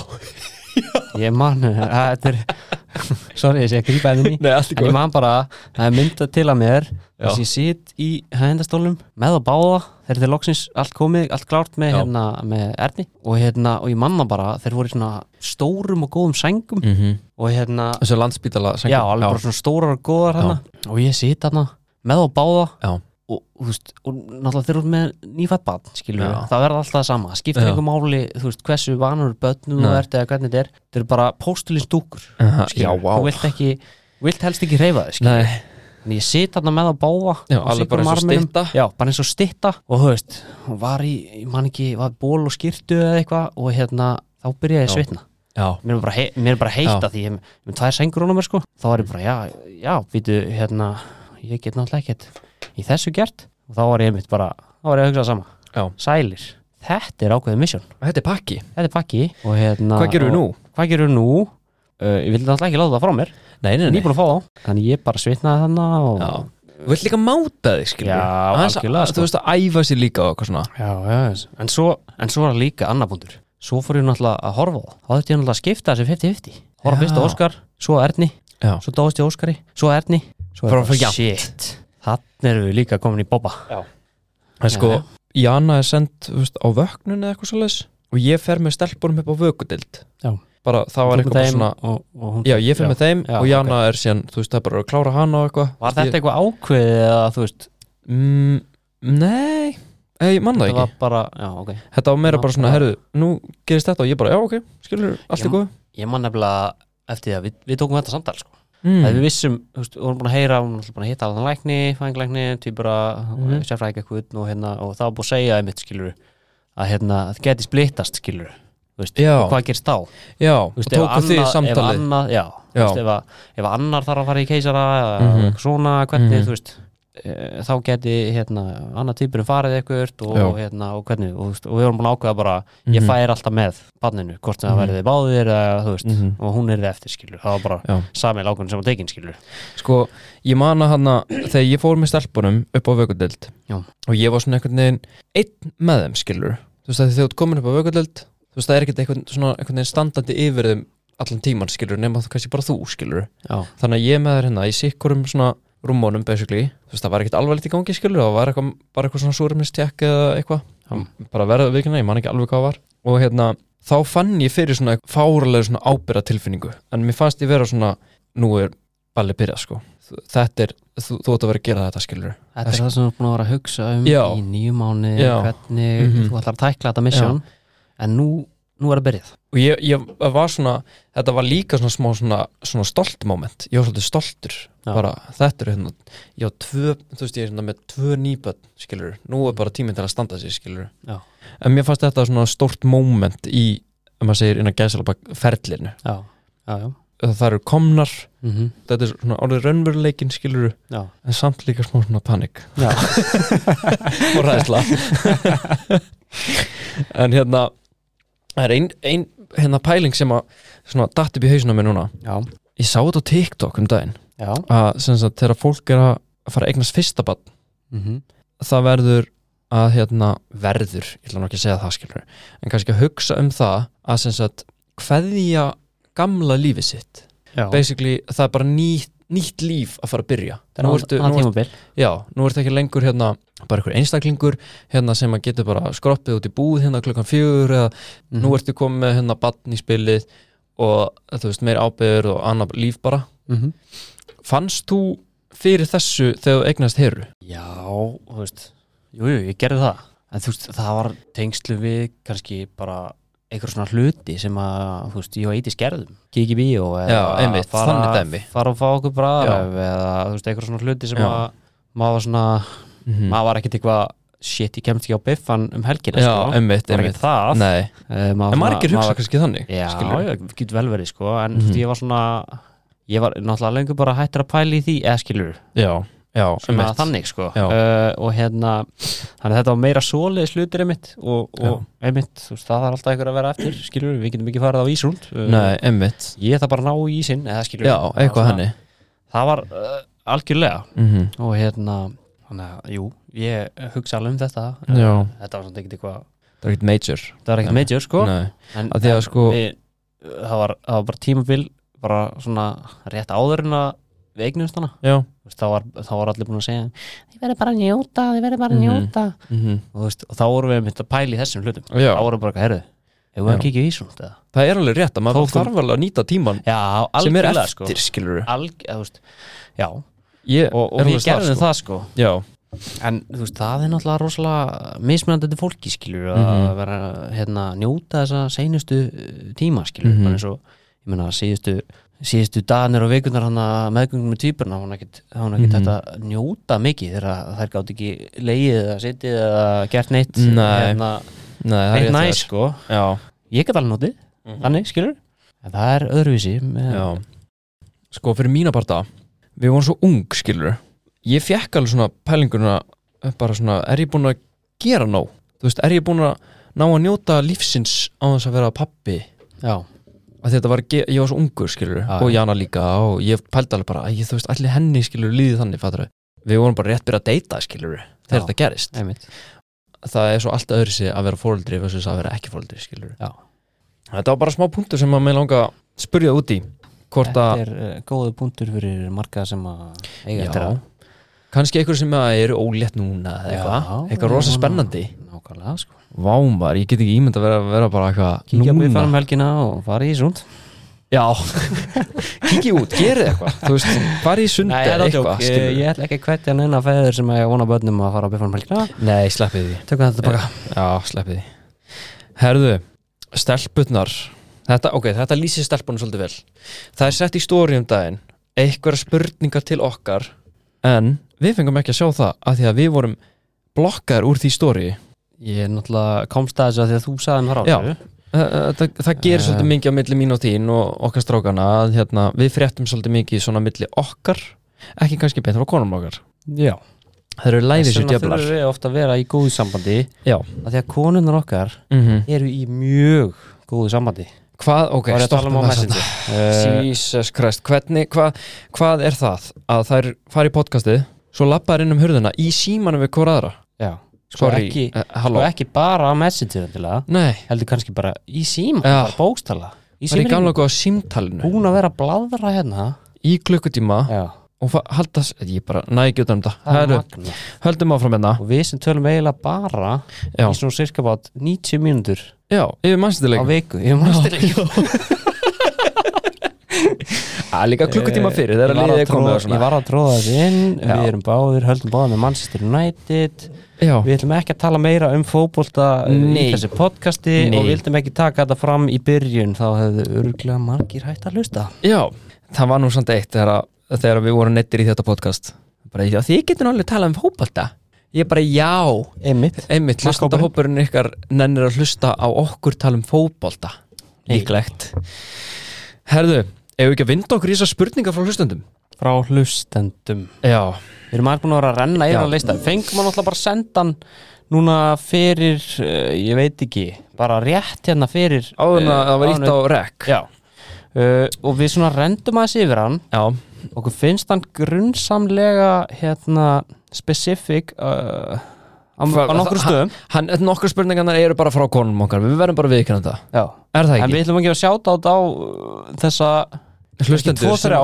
Speaker 2: Ég man, að þetta er Sorry, ég sé að grípa henni
Speaker 1: nei, allt í
Speaker 2: En ég
Speaker 1: góð
Speaker 2: man bara, það er myndað til að mér
Speaker 1: Já.
Speaker 2: þess ég sit í hændastólnum með að báða, þegar þeir loksins allt komið, allt klárt með,
Speaker 1: Já.
Speaker 2: hérna, með Erni og, hérna, og ég manna bara, þeir voru í svona stórum og góðum sængum
Speaker 1: mm -hmm.
Speaker 2: og hérna,
Speaker 1: þessu landsbítala
Speaker 2: já, alveg bara svona stórar og góðar hana og ég sit hana með að báða
Speaker 1: Já.
Speaker 2: og, þú veist, og náttúrulega þeir eru með nýfætt barn, skilur við,
Speaker 1: Já.
Speaker 2: það verður alltaf það sama skiptir
Speaker 1: Já.
Speaker 2: einhver máli, þú veist, hversu vanur börnum þú
Speaker 1: Nei.
Speaker 2: ert eða hvernig þetta er þeir eru bara postulins dúkur
Speaker 1: Aha,
Speaker 2: skilur.
Speaker 1: já, vá
Speaker 2: þú vilt ekki vilt helst ekki reyfa þau
Speaker 1: Nei,
Speaker 2: en ég sit þarna með að báa
Speaker 1: Já,
Speaker 2: og
Speaker 1: alveg bara
Speaker 2: sykur
Speaker 1: eins og
Speaker 2: marminum.
Speaker 1: stytta.
Speaker 2: já, bara eins og stytta og þú veist, hún var í, ég man ekki var ból og skýrtu eða eitthvað og hérna, þá byrjaði ég að
Speaker 1: Já.
Speaker 2: svitna
Speaker 1: Já,
Speaker 2: mér er bara, hei, mér er bara
Speaker 1: Já.
Speaker 2: heita því ég ég er með tvær sengur honum sko. þá var ég bara, já, já, býtu hérna, ég get náttúrulega ekkert í þessu gert og þá var ég mitt bara þá var ég að hugsa það sama,
Speaker 1: já
Speaker 2: sælir þetta er ákveðið misjón,
Speaker 1: Þetta er pakki
Speaker 2: þetta er pakki og hérna,
Speaker 1: Hvað gerum við nú?
Speaker 2: og, hvað gerum við nú uh, ég vildi náttúrulega ekki láta það frá mér
Speaker 1: Nei, nei, nei
Speaker 2: nýbúin að fá þá, þannig ég bara svitnaði þannig og
Speaker 1: Já Þú vilt líka máta þig, skilur
Speaker 2: Já, algjörlega, sko.
Speaker 1: Þú veist að æfa sér líka og eitthvað svona
Speaker 2: Já, já, en svo, en svo var líka annar búndur Svo fór ég náttúrulega að horfa á það Þá þurfti ég náttúrulega að skipta þessu 50-50 Horfa
Speaker 1: Já.
Speaker 2: fyrst á Óskar, svo á Erni
Speaker 1: Já
Speaker 2: Svo dáðist ég á Óskari, svo á Erni Svo
Speaker 1: Bara
Speaker 2: bara,
Speaker 1: fyrir jafnt.
Speaker 2: Shit, þannig erum við líka komin í bobba
Speaker 1: En sko,
Speaker 2: Já.
Speaker 1: Jana er send, þú veist, á vöknun eða eitthvað svoleiðis Og ég fer með stelpunum upp á vökudild
Speaker 2: Já.
Speaker 1: Bara, það var eitthvað bara svona
Speaker 2: og, og hún...
Speaker 1: Já, ég fer með þeim
Speaker 2: Já,
Speaker 1: og Jana er síðan, þú veist, það er bara að klára hana og eitthvað
Speaker 2: Var þetta eitthvað ákveðið eða þú veist
Speaker 1: Mm, nei, eh, ég manna það
Speaker 2: Það
Speaker 1: ekki
Speaker 2: var bara, já, ok
Speaker 1: Þetta var meira bara svona,
Speaker 2: Bara-
Speaker 1: herðu, nú gerist þetta og ég bara, já ok, skilur, allt
Speaker 2: Já.
Speaker 1: er góð
Speaker 2: Ég man nefnilega eftir því að við, við tókum þetta samtal sko. mm.
Speaker 1: mm.
Speaker 2: Við vissum, þú veist, við vorum búin að heyra Við vorum búin að hitta alveg lækni, fænglækni Týpura,
Speaker 1: Mhm.
Speaker 2: mm. sérfræk eitthvað og, hérna, og það var búin að segja einmitt skilur Að hérna, það geti splittast skilur veist,
Speaker 1: Já.
Speaker 2: Og hvað gerst þá?
Speaker 1: Já,
Speaker 2: Þú
Speaker 1: og tóku
Speaker 2: ef
Speaker 1: þið
Speaker 2: annað- ef
Speaker 1: samtalið
Speaker 2: annað, já,
Speaker 1: Já.
Speaker 2: já. Veist, ef, að, ef annar þarf að fara í keisara eða
Speaker 1: Mhm.
Speaker 2: eitthvað svona, hvernig,
Speaker 1: Mhm.
Speaker 2: þú veist e, þá geti, hérna, annar týpurinn farið eitthvað
Speaker 1: Já.
Speaker 2: og, hérna, og hvernig og, þú veist, og við vorum búin að ákveða bara, ég
Speaker 1: Mhm.
Speaker 2: fær alltaf með barninu, hvort sem það
Speaker 1: Mhm.
Speaker 2: verði báðir eða, þú veist,
Speaker 1: Mhm.
Speaker 2: og hún er eftir, skilur það var bara
Speaker 1: Já.
Speaker 2: sami lágun sem að tekin, skilur
Speaker 1: Sko, ég manna hana, þegar ég fór með stelpunum upp á vökudeld
Speaker 2: Já.
Speaker 1: Og ég var svona einhvern veginn, einn með þeim, skilur Þú veist að þegar þú ert komin upp á vökudeld Þú veist, það er ekkert einhvern, svona, einhvern veginn standandi yfir þeim allan tíman, skilur Nefn að þú kannski bara þú, skilur
Speaker 2: já,
Speaker 1: þannig að ég með þær hérna í sikkurum svona rúmónum basically þú veist það var ekkert alvarlegt í gangi skilur það var eitthvað, bara eitthvað svona súrumnistjekk eða eitthvað bara verða vikina, ég man ekki alveg hvað var og hérna þá fann ég fyrir svona fáralega svona ábyrra tilfinningu en mér fannst ég vera svona nú er ballið byrjað sko Þ- þetta er, þú, þú átt að vera að gera þetta skilur
Speaker 2: þetta er það sem þú er búin að vera að hugsa um
Speaker 1: Já.
Speaker 2: í nýju mánu,
Speaker 1: Já.
Speaker 2: hvernig
Speaker 1: Mhm.
Speaker 2: þú ætlar að tækla þetta misjón en nú, nú er það byrjað
Speaker 1: og ég, ég var svona þetta var líka svona smá svona, svona stolt moment, ég var svolítið stoltur
Speaker 2: Já.
Speaker 1: bara þetta er hérna ég á tvö, þú veist ég er hérna með tvö nýböld skilur, nú er bara tíminn til að standa sér skilur
Speaker 2: Já.
Speaker 1: en mér fannst þetta svona stórt moment í, ef maður segir innan gæðsalabak ferlinu,
Speaker 2: já, já, já,
Speaker 1: það eru komnar
Speaker 2: mm
Speaker 1: þetta er svona orðið raunveruleikin skilur
Speaker 2: já.
Speaker 1: en samt líka smá svona panik
Speaker 2: Já.
Speaker 1: og ræðsla en hérna það er ein, ein hérna pæling sem að svona datt upp í hausuna mér núna
Speaker 2: já,
Speaker 1: ég sá þetta á TikTok um daginn
Speaker 2: já.
Speaker 1: að sem sagt þegar fólk er að fara að eignast fyrsta bann
Speaker 2: Mm
Speaker 1: það verður að hérna verður, ég ætla nú ekki að segja það skilur en kannski að hugsa um það að sem sagt hverðja gamla lífið sitt
Speaker 2: já.
Speaker 1: basically það er bara nýtt, nýtt líf að fara að byrja
Speaker 2: Nú ertu,
Speaker 1: nú ertu,
Speaker 2: tímabil
Speaker 1: já, nú ertu ekki lengur hérna bara einhver einstaklingur hérna sem að getur bara skroppið út í búð hérna klukkan fjögur eða nú ertu komið með hérna bann í spilið og þú veist meir ábyrður og annar líf bara
Speaker 2: -hmm.
Speaker 1: fannst þú fyrir þessu þegar þú eignast heru?
Speaker 2: Já, þú veist Jú, jú, ég gerði það En þú veist, það var tengslu við kannski bara einhver svona hluti sem að, þú veist, ég og Eiti skerðum Kiki bíó eða
Speaker 1: Já, einmitt,
Speaker 2: fara,
Speaker 1: þannig dæmi.
Speaker 2: Fara og fá okkur bræðar
Speaker 1: Já.
Speaker 2: eða, þú veist, einhver svona hluti sem
Speaker 1: Já.
Speaker 2: að maður var svona, maður var ekkert eitthvað shit, ég kemst ekki á biffan um helgina
Speaker 1: Mm. Já,
Speaker 2: sko.
Speaker 1: emmitt,
Speaker 2: Var
Speaker 1: emmitt
Speaker 2: ekkert það
Speaker 1: Nei,
Speaker 2: Eh, maður
Speaker 1: en
Speaker 2: svona-
Speaker 1: margir hugsa
Speaker 2: maður-
Speaker 1: kannski þannig
Speaker 2: Já,
Speaker 1: skilurðu.
Speaker 2: já, getur vel verið, sko En þú veist,
Speaker 1: Mhm.
Speaker 2: ég var svona Ég var náttúrulega lengur bara hættur að pæla í því eða skilur
Speaker 1: Já, já,
Speaker 2: svona
Speaker 1: emmitt
Speaker 2: þannig sko
Speaker 1: Já.
Speaker 2: uh, og hérna, þannig að þetta var meira svoleiðis hlutir einmitt og, og einmitt, þú veist, það þarf alltaf einhver að vera eftir skilur, við getum ekki farið á ísrúnd Eh,
Speaker 1: Nei, emmitt
Speaker 2: ég þarf bara að ná í ísinn eða skilur,
Speaker 1: Já, eitthvað henni
Speaker 2: það var uh, algjörlega
Speaker 1: Mhm.
Speaker 2: og hérna, þannig að, jú ég hugsa alveg um þetta
Speaker 1: Já.
Speaker 2: Eh, þetta var samt ekkert eitthvað,
Speaker 1: Það er ekkert major
Speaker 2: það var ekkert
Speaker 1: Nei.
Speaker 2: major sko
Speaker 1: Nei,
Speaker 2: en,
Speaker 1: Af því að,
Speaker 2: en
Speaker 1: sko-
Speaker 2: við, það, var, það var bara tímabil bara svona rétt áður en að við eignumst hana
Speaker 1: já
Speaker 2: Þú veist, þá var, þá var allir búin að segja þið verður bara að njóta, þið verður bara að
Speaker 1: Mhm.
Speaker 2: njóta
Speaker 1: Mhm.
Speaker 2: og, þú veist, og þá vorum við mitt að pæla í þessum hlutum
Speaker 1: Já,
Speaker 2: þá vorum við bara eitthvað, herðu, ef við
Speaker 1: Já.
Speaker 2: að kíkja í svona eða?
Speaker 1: það er alveg rétt að maður
Speaker 2: Þó kom-
Speaker 1: þarf alveg að nýta tíman
Speaker 2: já,
Speaker 1: sem er
Speaker 2: algjörlega sko
Speaker 1: eftir, skilur
Speaker 2: Alg, eða, þú veist, já, og,
Speaker 1: Ég
Speaker 2: og
Speaker 1: er
Speaker 2: við
Speaker 1: alveg þar,
Speaker 2: gerðum
Speaker 1: sko.
Speaker 2: það sko
Speaker 1: Já,
Speaker 2: en þú veist, það er náttúrulega rosalega mismunandi til fólki skilur að
Speaker 1: Mhm.
Speaker 2: vera, hérna, njóta þessa seinustu uh, tíma skilur,
Speaker 1: Mhm.
Speaker 2: bara eins og ég meina, síðustu síðustu danir og vikunar hann að meðgöngum með týpurna, hann ekkit, hann ekkit
Speaker 1: Mhm.
Speaker 2: mm að njóta mikið þegar að þær gátt ekki leiðið eða setið eða gert neitt
Speaker 1: Nei.
Speaker 2: hérna,
Speaker 1: Nei, það
Speaker 2: neitt
Speaker 1: rétt hjá
Speaker 2: næ
Speaker 1: þér.
Speaker 2: sko
Speaker 1: Já,
Speaker 2: ég get alveg notið,
Speaker 1: Mhm.
Speaker 2: þannig skilur en það er öðruvísi með,
Speaker 1: já Sko, fyrir mína parta Við vorum svo ung, skilur Ég fekk alveg svona pælinguna bara svona, er ég búin að gera nóg? Þú veist, er ég búin að ná að njóta lífsins á þess að vera pappi?
Speaker 2: já,
Speaker 1: að þetta var, ge- ég var svo ungur skilur
Speaker 2: Já,
Speaker 1: og
Speaker 2: já.
Speaker 1: Jana líka og ég pældi alveg bara að ég þú veist allir henni skilur líði þannig fattur við vorum bara rétt byrja að deyta skilur þegar
Speaker 2: Já.
Speaker 1: þetta gerist
Speaker 2: einmitt
Speaker 1: það er svo allt öðru sig að vera fóreldri versus að vera ekki fóreldri skilur
Speaker 2: Já.
Speaker 1: þetta var bara smá punktur sem að mér langa að spurja út í hvort
Speaker 2: þetta
Speaker 1: að
Speaker 2: er uh, góðu punktur fyrir marga sem að eiga eftir
Speaker 1: já,
Speaker 2: að
Speaker 1: kannski einhver sem að eru ólétt núna eða eitthvað
Speaker 2: Já,
Speaker 1: eitthvað rosa
Speaker 2: já.
Speaker 1: spennandi
Speaker 2: nákvæmlega sko
Speaker 1: vámar, ég get ekki ímynd að vera, vera bara
Speaker 2: kíkja
Speaker 1: eitthvað
Speaker 2: upp í
Speaker 1: núna
Speaker 2: farum helgina og fara í sund
Speaker 1: já, kikið út, gerið eitthvað þú veist, farið í sunda
Speaker 2: það er
Speaker 1: eitthvað
Speaker 2: ég,
Speaker 1: skilurðu.
Speaker 2: ég ætla ekki að kvætja neina feður sem eiga vona börnum að fara upp í farum helgina
Speaker 1: Nei, sleppið því
Speaker 2: tökum þetta tilbaka
Speaker 1: Já, sleppið því Herðu, stelpurnar þetta, Ok, þetta lýsir stelpunum svolítið vel Það er sett í stóri um daginn einhverja spurningar til okkar En við fengum ekki að sjá það af því að við vorum blokkaðir úr því stóri
Speaker 2: Eh, ég er náttúrulega komst að þessu að því að þú sagði mér á
Speaker 1: Já. Það, það gerir
Speaker 2: Eh.
Speaker 1: svolítið mikið á milli mín og þín og okkar strákana að hérna, við fréttum svolítið mikið svona milli okkar ekki kannski betur á konum okkar
Speaker 2: já
Speaker 1: Það eru læðið sér
Speaker 2: þess vegna
Speaker 1: djöflar
Speaker 2: þurfum við ofta að vera í góðu sambandi
Speaker 1: Já,
Speaker 2: að því að konunnar okkar
Speaker 1: mm
Speaker 2: eru í mjög góðu sambandi
Speaker 1: hvað, ok,
Speaker 2: Það var ég að tala um
Speaker 1: stoppum
Speaker 2: á
Speaker 1: þess að
Speaker 2: messenger Eh,
Speaker 1: Jesus Christ, hvernig, hva, hvað er það að þær fara í podcastið svo lappaðar inn um hurðina í símanum við hvora aðra
Speaker 2: já sko ekki
Speaker 1: eh,
Speaker 2: sko
Speaker 1: halló
Speaker 2: ekki bara á messenger endilega
Speaker 1: Nei,
Speaker 2: heldur kannski bara í síma
Speaker 1: Já.
Speaker 2: bara bókstala í
Speaker 1: það er í
Speaker 2: síma
Speaker 1: gamla góða símtalinu
Speaker 2: búin að vera að bladra hérna
Speaker 1: í klukkutíma
Speaker 2: já,
Speaker 1: og fa- halda, s- ég bara næ ekki út um þetta
Speaker 2: það er
Speaker 1: Heru,
Speaker 2: magna
Speaker 1: höldum áfram hérna
Speaker 2: og við sem tölum eiginlega bara
Speaker 1: Já,
Speaker 2: í svona cirka bát 90 mínútur
Speaker 1: já, yfir
Speaker 2: á
Speaker 1: mannstileg
Speaker 2: viku ég mannst þér ekki
Speaker 1: Líka klukkutíma fyrir þegar
Speaker 2: Ég var
Speaker 1: liðið
Speaker 2: að
Speaker 1: er komið
Speaker 2: tróða-
Speaker 1: og svona.
Speaker 2: ég var að tróða þessu inn
Speaker 1: Já.
Speaker 2: við erum báðir, höldum báðir með Manchester United
Speaker 1: Já,
Speaker 2: við ætlum ekki að tala meira um fótbolta
Speaker 1: Nei.
Speaker 2: í þessu podcasti
Speaker 1: Nei.
Speaker 2: og við ætlum ekki taka þetta fram í byrjun þá hefðu öruglega margir hægt að hlusta
Speaker 1: já, það var nú samt eitt þegar, að- þegar við vorum nettir í þetta podcast bara, já, þið getur náttúrulega talað um fótbalta Ég bara, já,
Speaker 2: einmitt
Speaker 1: Einmitt, hlustandahópurinn ykkar nennir að hlusta á okkur tala um fótbolta Líklegt Herðu, eigum við ekki að vinda okkur í þessar spurningar frá hlustendum?
Speaker 2: frá hlustendum
Speaker 1: Já,
Speaker 2: Við erum aðeins búin að vera að renna
Speaker 1: Já.
Speaker 2: yfir að leista Fengum hann alltaf bara að senda hann Núna fyrir, uh, ég veit ekki Bara rétt hérna fyrir
Speaker 1: áður en
Speaker 2: eh,
Speaker 1: að það var
Speaker 2: áður en-
Speaker 1: ítt á rek
Speaker 2: Já uh, Og við svona rendum aðeins yfir hann
Speaker 1: Já,
Speaker 2: Okkur finnst hann grunnsamlega Hérna, specific uh, Á,
Speaker 1: Hva-
Speaker 2: á nokkrum stöðum
Speaker 1: hann, nokkur spurningarnar eru bara frá konum okkar Við verðum bara viðkjörnum það
Speaker 2: Já
Speaker 1: Er það
Speaker 2: En
Speaker 1: ekki?
Speaker 2: við ætlum ekki að sjáta á uh, þessa
Speaker 1: Hlustendur
Speaker 2: Tvo þrjá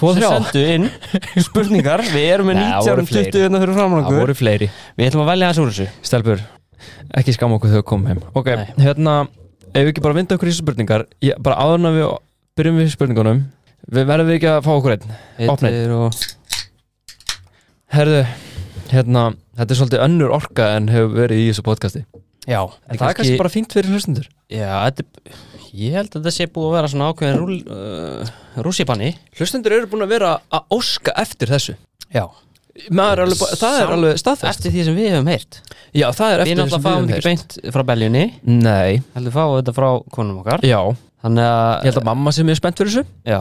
Speaker 1: Tvo,
Speaker 2: sem
Speaker 1: þrjá?
Speaker 2: sendu inn spurningar Við erum með
Speaker 1: Nei, það voru
Speaker 2: 19 20
Speaker 1: fleiri.
Speaker 2: hérna fyrir framan
Speaker 1: Það
Speaker 2: okkur
Speaker 1: voru fleiri
Speaker 2: Við ætlum að velja hans úr þessu
Speaker 1: Stelbur, ekki skam okkur þegar við komum heim Ok,
Speaker 2: Nei.
Speaker 1: hérna, ef við ekki bara vinda okkur í þessar spurningar ég, Bara áður en að við byrjum við spurningunum Við verðum við ekki að fá okkur einn Opnið.
Speaker 2: Heitir og
Speaker 1: Herðu, hérna, þetta er svolítið önnur orka en hefur verið í þessu podcasti
Speaker 2: Já,
Speaker 1: En það er kannski bara fínt fyrir hlustundur
Speaker 2: Já, þetta, er- ég held að þetta sé búið að vera svona ákveðin rúl, uh, rússipanni
Speaker 1: Hlustundur eru búin að vera að óska eftir þessu
Speaker 2: Já
Speaker 1: Maður er alveg, búin- það er
Speaker 2: Samt-
Speaker 1: alveg staðfest
Speaker 2: Eftir því sem við hefum heyrt
Speaker 1: Já, það er
Speaker 2: Við
Speaker 1: eftir
Speaker 2: náttúrulega fáum þetta ekki beint frá beljunni
Speaker 1: beint Nei,
Speaker 2: Heldur fáum þetta frá konum okkar
Speaker 1: já, ég
Speaker 2: Þannig að
Speaker 1: held að mamma sé mjög spennt fyrir þessu
Speaker 2: Já,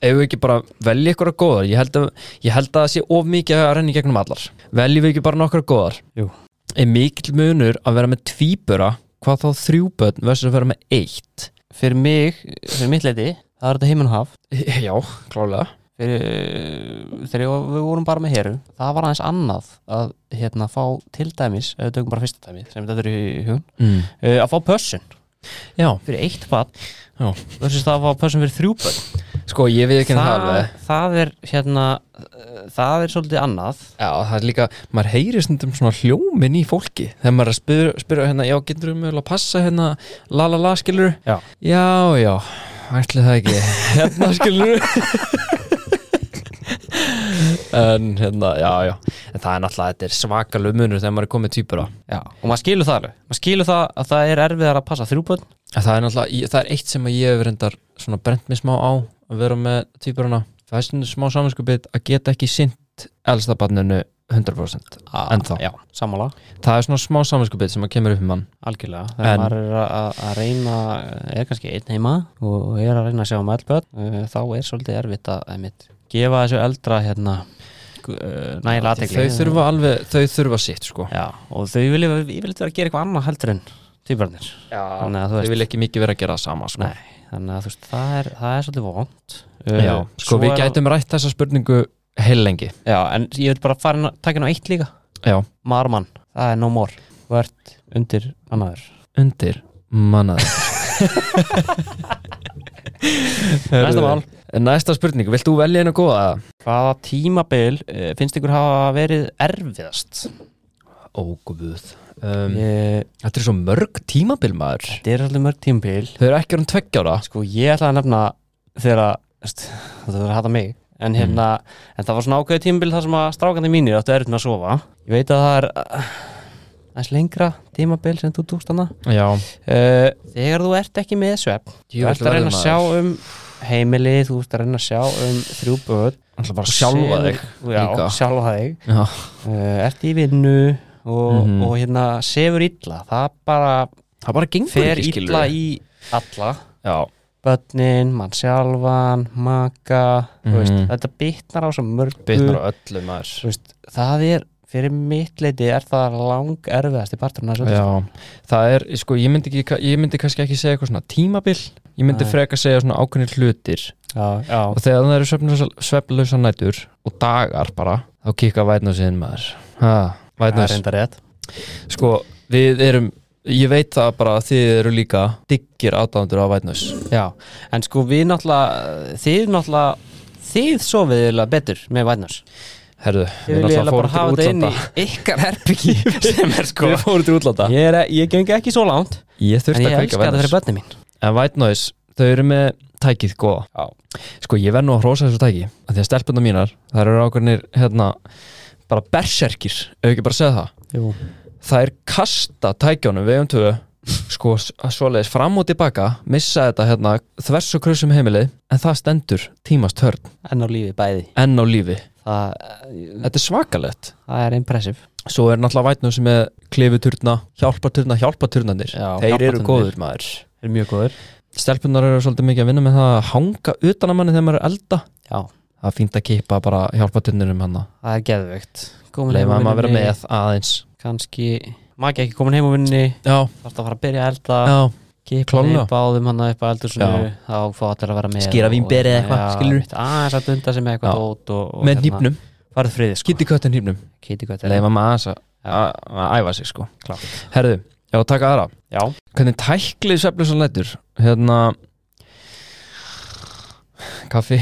Speaker 1: Ef við ekki bara velja ykkur að góðar ég held að, ég held að það sé of mikið að renna í gegnum allar Veljum við ekki bara nokkar góðar
Speaker 2: Jú.
Speaker 1: Er mikill munur að vera með tvíbura Hvað þá þrjú börn versus að vera með eitt
Speaker 2: fyrir mig, fyrir mitt leiti Það er þetta heiminn haf
Speaker 1: Já, klálega
Speaker 2: fyrir, uh, Þegar ég- við vorum bara með heru Það var aðeins annað að hérna fá til dæmis Ef við tökum bara fyrsta dæmi sem þetta er í hugun
Speaker 1: mm.
Speaker 2: uh, Að fá pössun
Speaker 1: Já,
Speaker 2: fyrir eitt bann
Speaker 1: Já.
Speaker 2: Versus það að fá pössun fyrir þrjú bönn
Speaker 1: Sko, ég við ekki það
Speaker 2: það,
Speaker 1: alveg
Speaker 2: það er hérna uh, það er svolítið annað
Speaker 1: Já, það er líka, maður heyrir stundum svona hljómin í fólki Þegar maður er að spyrja, spyrja hérna, já, getur við mögulega að passa hérna, la la la, skilur
Speaker 2: Já.
Speaker 1: Já, já, ætli það ekki Hérna, skilur En hérna, já, já En það er náttúrulega, þetta er svakalug munur þegar maður er komið týpur á
Speaker 2: Já. og maður skilur það alveg maður skilur það að það er erfiðar að passa þrjúbönn
Speaker 1: En það er náttúrulega, ég- það er eitt sem að ég hef reyndar svona brent mér smá á að vera með týpurana það er stundum smá saminskupið að geta ekki sint elsta barninu 100%
Speaker 2: Ah,
Speaker 1: Ennþá.
Speaker 2: Já, sammála,
Speaker 1: það er svona smá saminskupið sem að kemur upp um mann
Speaker 2: algjörlega Þegar
Speaker 1: En-
Speaker 2: maður er að- að að reyna, er kannski einn heima og er að reyna að sjá um eldböld þá er svolítið erfitt að einmitt, gefa þessu eldra hérna eh, nægilega aðtekli
Speaker 1: þau þurfa alveg, þau þurfa sitt sko
Speaker 2: Já, og þau vilja, ég vilja vera að gera eitthvað annað heldur en týparnir Þannig að þú
Speaker 1: þau
Speaker 2: veist-
Speaker 1: vil ekki mikið vera að gera það sama sko
Speaker 2: Nei, þannig að þú veist, það er, það er svolítið Eh, vond
Speaker 1: Já, sko við gætum rætt þessa spurningu heil lengi
Speaker 2: Já, en ég vil bara fara inn að taka inn á eitt líka
Speaker 1: Já,
Speaker 2: Marmann, það er no more Þú ert undir annaður
Speaker 1: undir mannaður
Speaker 2: Næsta mál
Speaker 1: Næsta spurning, vilt þú velja einu góða?
Speaker 2: Hvaða tímabil eh, finnst ykkur hafa verið erfiðast?
Speaker 1: Ó, guð um,
Speaker 2: Ég,
Speaker 1: Þetta er svo mörg tímabil maður
Speaker 2: þetta er alveg mörg tímabil
Speaker 1: Þau eru ekki orðin tveggjára
Speaker 2: Sko, ég ætla að nefna þegar að, veist, þetta verður að hata mig En hérna, en það var svona ákveðið tímabil þar sem að strákandi mínir áttu erfitt með að sofa Ég veit að það er eh, aðeins lengra tímabil sem þú tókst hana
Speaker 1: Já
Speaker 2: Eh, Þegar þú ert ekki með svepp Þú ert að reyna að sjá um heimili Þú ert að reyna að sjá um þrjú börn
Speaker 1: Það er bara að sjálfa þig
Speaker 2: Selur- Já,
Speaker 1: líka.
Speaker 2: sjálfa þig
Speaker 1: Já,
Speaker 2: uh, Ert í vinnu og,
Speaker 1: Mhm.
Speaker 2: og hérna sefur illa Það bara
Speaker 1: það bara gengur
Speaker 2: fer
Speaker 1: ekki skilur
Speaker 2: illa í alla
Speaker 1: Já,
Speaker 2: Bönnin, mann sjálfan, maka mm
Speaker 1: Mhm.
Speaker 2: veist, Þetta bitnar á svo mörgu
Speaker 1: bitnar á öllu maður
Speaker 2: Þú veist, Það er, fyrir mitt leiti er það lang erfiðasti parturinn að
Speaker 1: Já, það er, sko, ég myndi, ekki, ég myndi kannski ekki segja eitthvað svona tímabil Ég myndi
Speaker 2: Nei.
Speaker 1: freka segja svona ákveðnir hlutir
Speaker 2: já, já.
Speaker 1: Og þegar það eru svefnlausa- svefnlausar nætur og dagar bara Þá kikka vætnásinn maður ha,
Speaker 2: Það er
Speaker 1: Vætnás,
Speaker 2: reynda rétt
Speaker 1: sko, við erum Ég veit það bara að þið eru líka diggir aðdándur á vætnás
Speaker 2: Já, en sko við náttúrulega þið náttúrulega þið sofið eiginlega betur með vætnars
Speaker 1: Herðu,
Speaker 2: Ég vil eiginlega bara hafa þetta inn í ykkar herbyggi sem er sko
Speaker 1: Við fórum til útlanda
Speaker 2: Ég, er, ég gengi ekki svo langt
Speaker 1: Ég
Speaker 2: en
Speaker 1: þurfti
Speaker 2: ég
Speaker 1: að kveika
Speaker 2: elska
Speaker 1: White Noise
Speaker 2: þetta fyrir börnin mín
Speaker 1: En White Noise, þau eru með tækið góða
Speaker 2: Já.
Speaker 1: Sko, ég verð nú að hrósa þessu tæki af Því að stelpunna mínar, það eru ákveðnir hérna, bara berserkir ef ekki bara segja það
Speaker 2: Jú.
Speaker 1: Það er kasta tækjónum við um tvö Sko, s- svoleiðis fram og tilbaka missa þetta hérna þvers og krusum heimilið en það stendur tímast hörn
Speaker 2: En á lífi bæði
Speaker 1: enn á lífi
Speaker 2: Það,
Speaker 1: Þetta er svakalegt
Speaker 2: það er impressiv
Speaker 1: Svo er náttúrulega vætnum sem er klifuturna, hjálparturna, hjálparturnanir
Speaker 2: Já,
Speaker 1: Þeir eru
Speaker 2: hjálparturnarnir.
Speaker 1: góður maður
Speaker 2: Er mjög góður
Speaker 1: stelpunar eru svolítið mikið að vinna með það að hanga utan að manni þegar maður er að elda
Speaker 2: Já,
Speaker 1: það er fínt að kippa bara hjálpa tunnurum hann
Speaker 2: það er geðvögt
Speaker 1: leifa maður að vera með aðeins
Speaker 2: Kanski, maður ekki komin heim á vinninni
Speaker 1: já,
Speaker 2: Þarf að fara að byrja að elda
Speaker 1: já,
Speaker 2: Kipa
Speaker 1: Klárlega.
Speaker 2: báðum hann upp að eldur svona
Speaker 1: Já.
Speaker 2: þá fá allir að vera með
Speaker 1: Skera
Speaker 2: og-
Speaker 1: vínber eða eitthvað,
Speaker 2: Já,
Speaker 1: skilurðu?
Speaker 2: einmitt, aðeins að dunda sem
Speaker 1: Já.
Speaker 2: eitthvað dót og, og
Speaker 1: með hnípnum,
Speaker 2: farið friði sko
Speaker 1: kitty köttin hnípnum
Speaker 2: Kitty Cut er-
Speaker 1: leifa maður aðeins að- að að æfa sig sko
Speaker 2: Klárt.
Speaker 1: herðu, já, taka aðra
Speaker 2: já,
Speaker 1: hvernig tæklið svefnlösa lætur hérna kaffi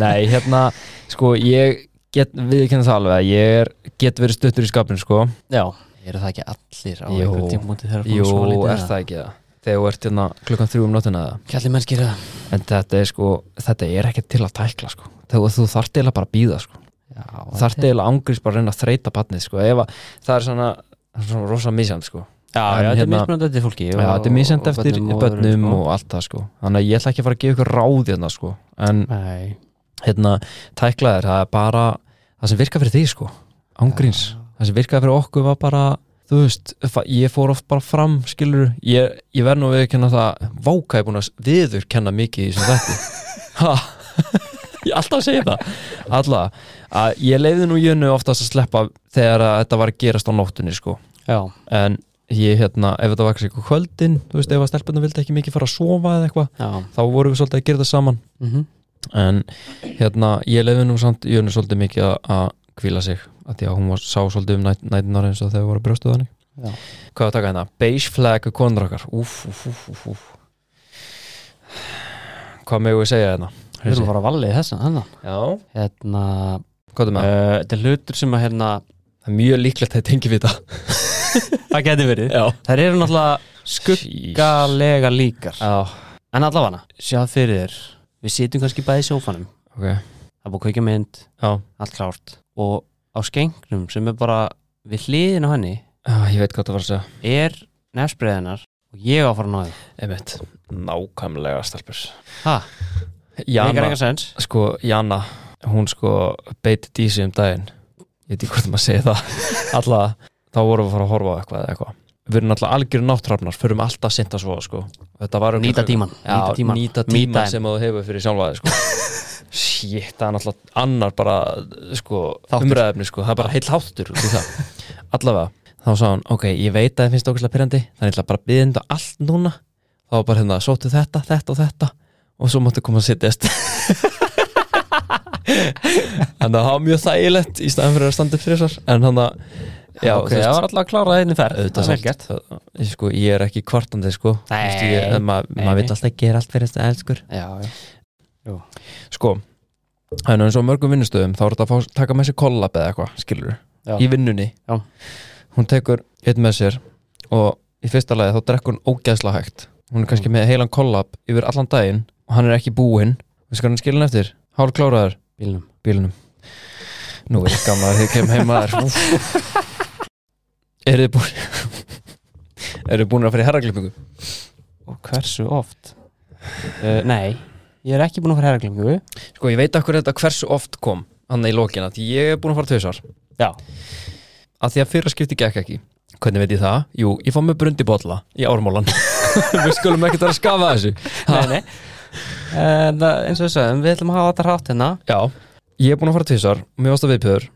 Speaker 1: nei, hérna sko, ég get viðkynna það alveg að ég er, get verið stuttur í skapinu sko
Speaker 2: já eru það ekki allir á
Speaker 1: Jú.
Speaker 2: einhverjum tímpunkti þegar
Speaker 1: Jú, er það ekki það Þegar þú ert hérna klukkan þrjú um nóttina eða
Speaker 2: kallir mennskir það
Speaker 1: En þetta er sko, þetta er ekki til að tækla sko Þegar þú þarft eiginlega bara að býða sko
Speaker 2: já,
Speaker 1: Þarft eiginlega ángrís bara að reyna að þreita batnið sko Ef að það er svona, svona rosa misjand sko en
Speaker 2: já, já, þetta er
Speaker 1: hérna-
Speaker 2: mismunandi eftir fólki
Speaker 1: Já, þetta er misjand eftir bönnum og allt það sko Þannig að ég ætla ekki að fara að gefa ykkur ráð hérna sko En
Speaker 2: nei
Speaker 1: hérna, tækla þér, það er bara Það sem virka fyrir þig sko, ángríns
Speaker 2: Já.
Speaker 1: það sem virkaði fyrir okkur var bara þú veist, fa- ég fór oft bara fram skilur, ég, ég verð nú að viðurkenna það váka er búin að viður kenna mikið í þessum þetta ha, ég alltaf segi það alltaf, að ég leiði nú jönu oftast að sleppa þegar að þetta var að gerast á nóttunni sko,
Speaker 2: já,
Speaker 1: en ég hérna, ef þetta var eitthvað kvöldin, þú veist, ef að stelpunum vildi ekki mikið fara að sofa eða eitthvað,
Speaker 2: já
Speaker 1: þá vorum við svolítið að gera þetta saman
Speaker 2: mhm.
Speaker 1: en hérna, ég leiði nú samt Jönu svolítið mikið að- að kvíla sig að því að hún var, sá svolítið um næt, nætinar eins og þegar voru brjóstuð hannig
Speaker 2: Já.
Speaker 1: hvað var að taka hérna? Beige flag og konur okkar úf, úf, úf, úf, úf. hvað megum við segja hérna?
Speaker 2: við erum að fara að valið þessan hann
Speaker 1: Já,
Speaker 2: hérna
Speaker 1: hvað er með?
Speaker 2: eh, þetta er hlutur sem að hérna
Speaker 1: það er mjög líklegt að það tengi við það
Speaker 2: það geti verið
Speaker 1: Já,
Speaker 2: þær eru náttúrulega
Speaker 1: skugga
Speaker 2: skuggalega líkar
Speaker 1: Já,
Speaker 2: en allavega sjáð fyrir þér við sitjum kannski bæði í sófanum
Speaker 1: ok
Speaker 2: það er búið að kveika mynd
Speaker 1: Já,
Speaker 2: allt klárt og á skengnum sem er bara við hliðin á henni
Speaker 1: Já, ég veit Ah, hvað það var að segja
Speaker 2: er nefnsbreiðinar og ég á að fara að ná því
Speaker 1: einmitt, nákvæmlega stelpur
Speaker 2: ha, það er
Speaker 1: Jana,
Speaker 2: eitthvað sens
Speaker 1: sko, Jana hún sko beiti dísi um daginn ég veit ekki hvort maður segi það alltaf, þá vorum við að fara að horfa á eitthvað eða eitthvað við erum alltaf algjör náttrafnar, förum alltaf sint að svo sko. Þetta var örugglega-
Speaker 2: nýta tíman,
Speaker 1: Já,
Speaker 2: nýta tíman.
Speaker 1: nýta tíma
Speaker 2: Nýta þeim.
Speaker 1: sem þú hefur fyrir sjálfaði sko. Shit, það er náttúrulega annar bara sko,
Speaker 2: Þáttur.
Speaker 1: umræðefni sko. það er bara heill háttur út í það. allavega, þá sagði hann ok, ég veit að það finnst okkurslega pyrrandi þannig ætla bara að byggja þetta allt núna þá var bara hérna, sóttu þetta, þetta og þetta og svo máttu koma að sittjast þannig að það var mjög þægilegt í staðan fyrir að standa upp fyrir þessar en þannig að já,
Speaker 2: ok, það var alltaf að klára það einni ferð
Speaker 1: Auðvitað
Speaker 2: það er
Speaker 1: samt.
Speaker 2: vel gert
Speaker 1: ég, sko, ég er ekki kvartandi sko
Speaker 2: Nei,
Speaker 1: Þú veist, ég- en maður
Speaker 2: nei,
Speaker 1: ma
Speaker 2: nei.
Speaker 1: vil alltaf gera allt fyrir þess að elskur
Speaker 2: já, já.
Speaker 1: sko, það er nú eins og á mörgum vinnustöðum þá er þetta að fá, taka með sér kollab eða eitthvað skilur,
Speaker 2: Já.
Speaker 1: í vinnunni
Speaker 2: Já.
Speaker 1: hún tekur einn með sér og í fyrsta lagi þá drekkur hún ógeðslega hægt hún er
Speaker 2: Mm.
Speaker 1: kannski með heilan kollab yfir allan daginn og hann er ekki búinn við skalum skilin eftir, hálf kláraður
Speaker 2: bílnum
Speaker 1: bílunum nú er ég gammal þegar ég kem heima þér eru þið búin eru þið búin að fara í herraklippingu
Speaker 2: og hversu oft uh, nei, ég er ekki búin að fara herraglingu
Speaker 1: sko ég veit akkur þetta hversu oft kom hann í lokina, því ég er búin að fara tveisar
Speaker 2: já,
Speaker 1: að því að fyrra skipti gekk ekki hvernig veit ég það? Jú, ég fá mig brundi bolla í ármólan við skulum ekkert vera að skafa þessu Ha.
Speaker 2: nei, nei En það, eins og þess að við ætlum að hafa þetta hrátt hérna
Speaker 1: já, ég er búin að fara tvisar og mér varst það viðbjöður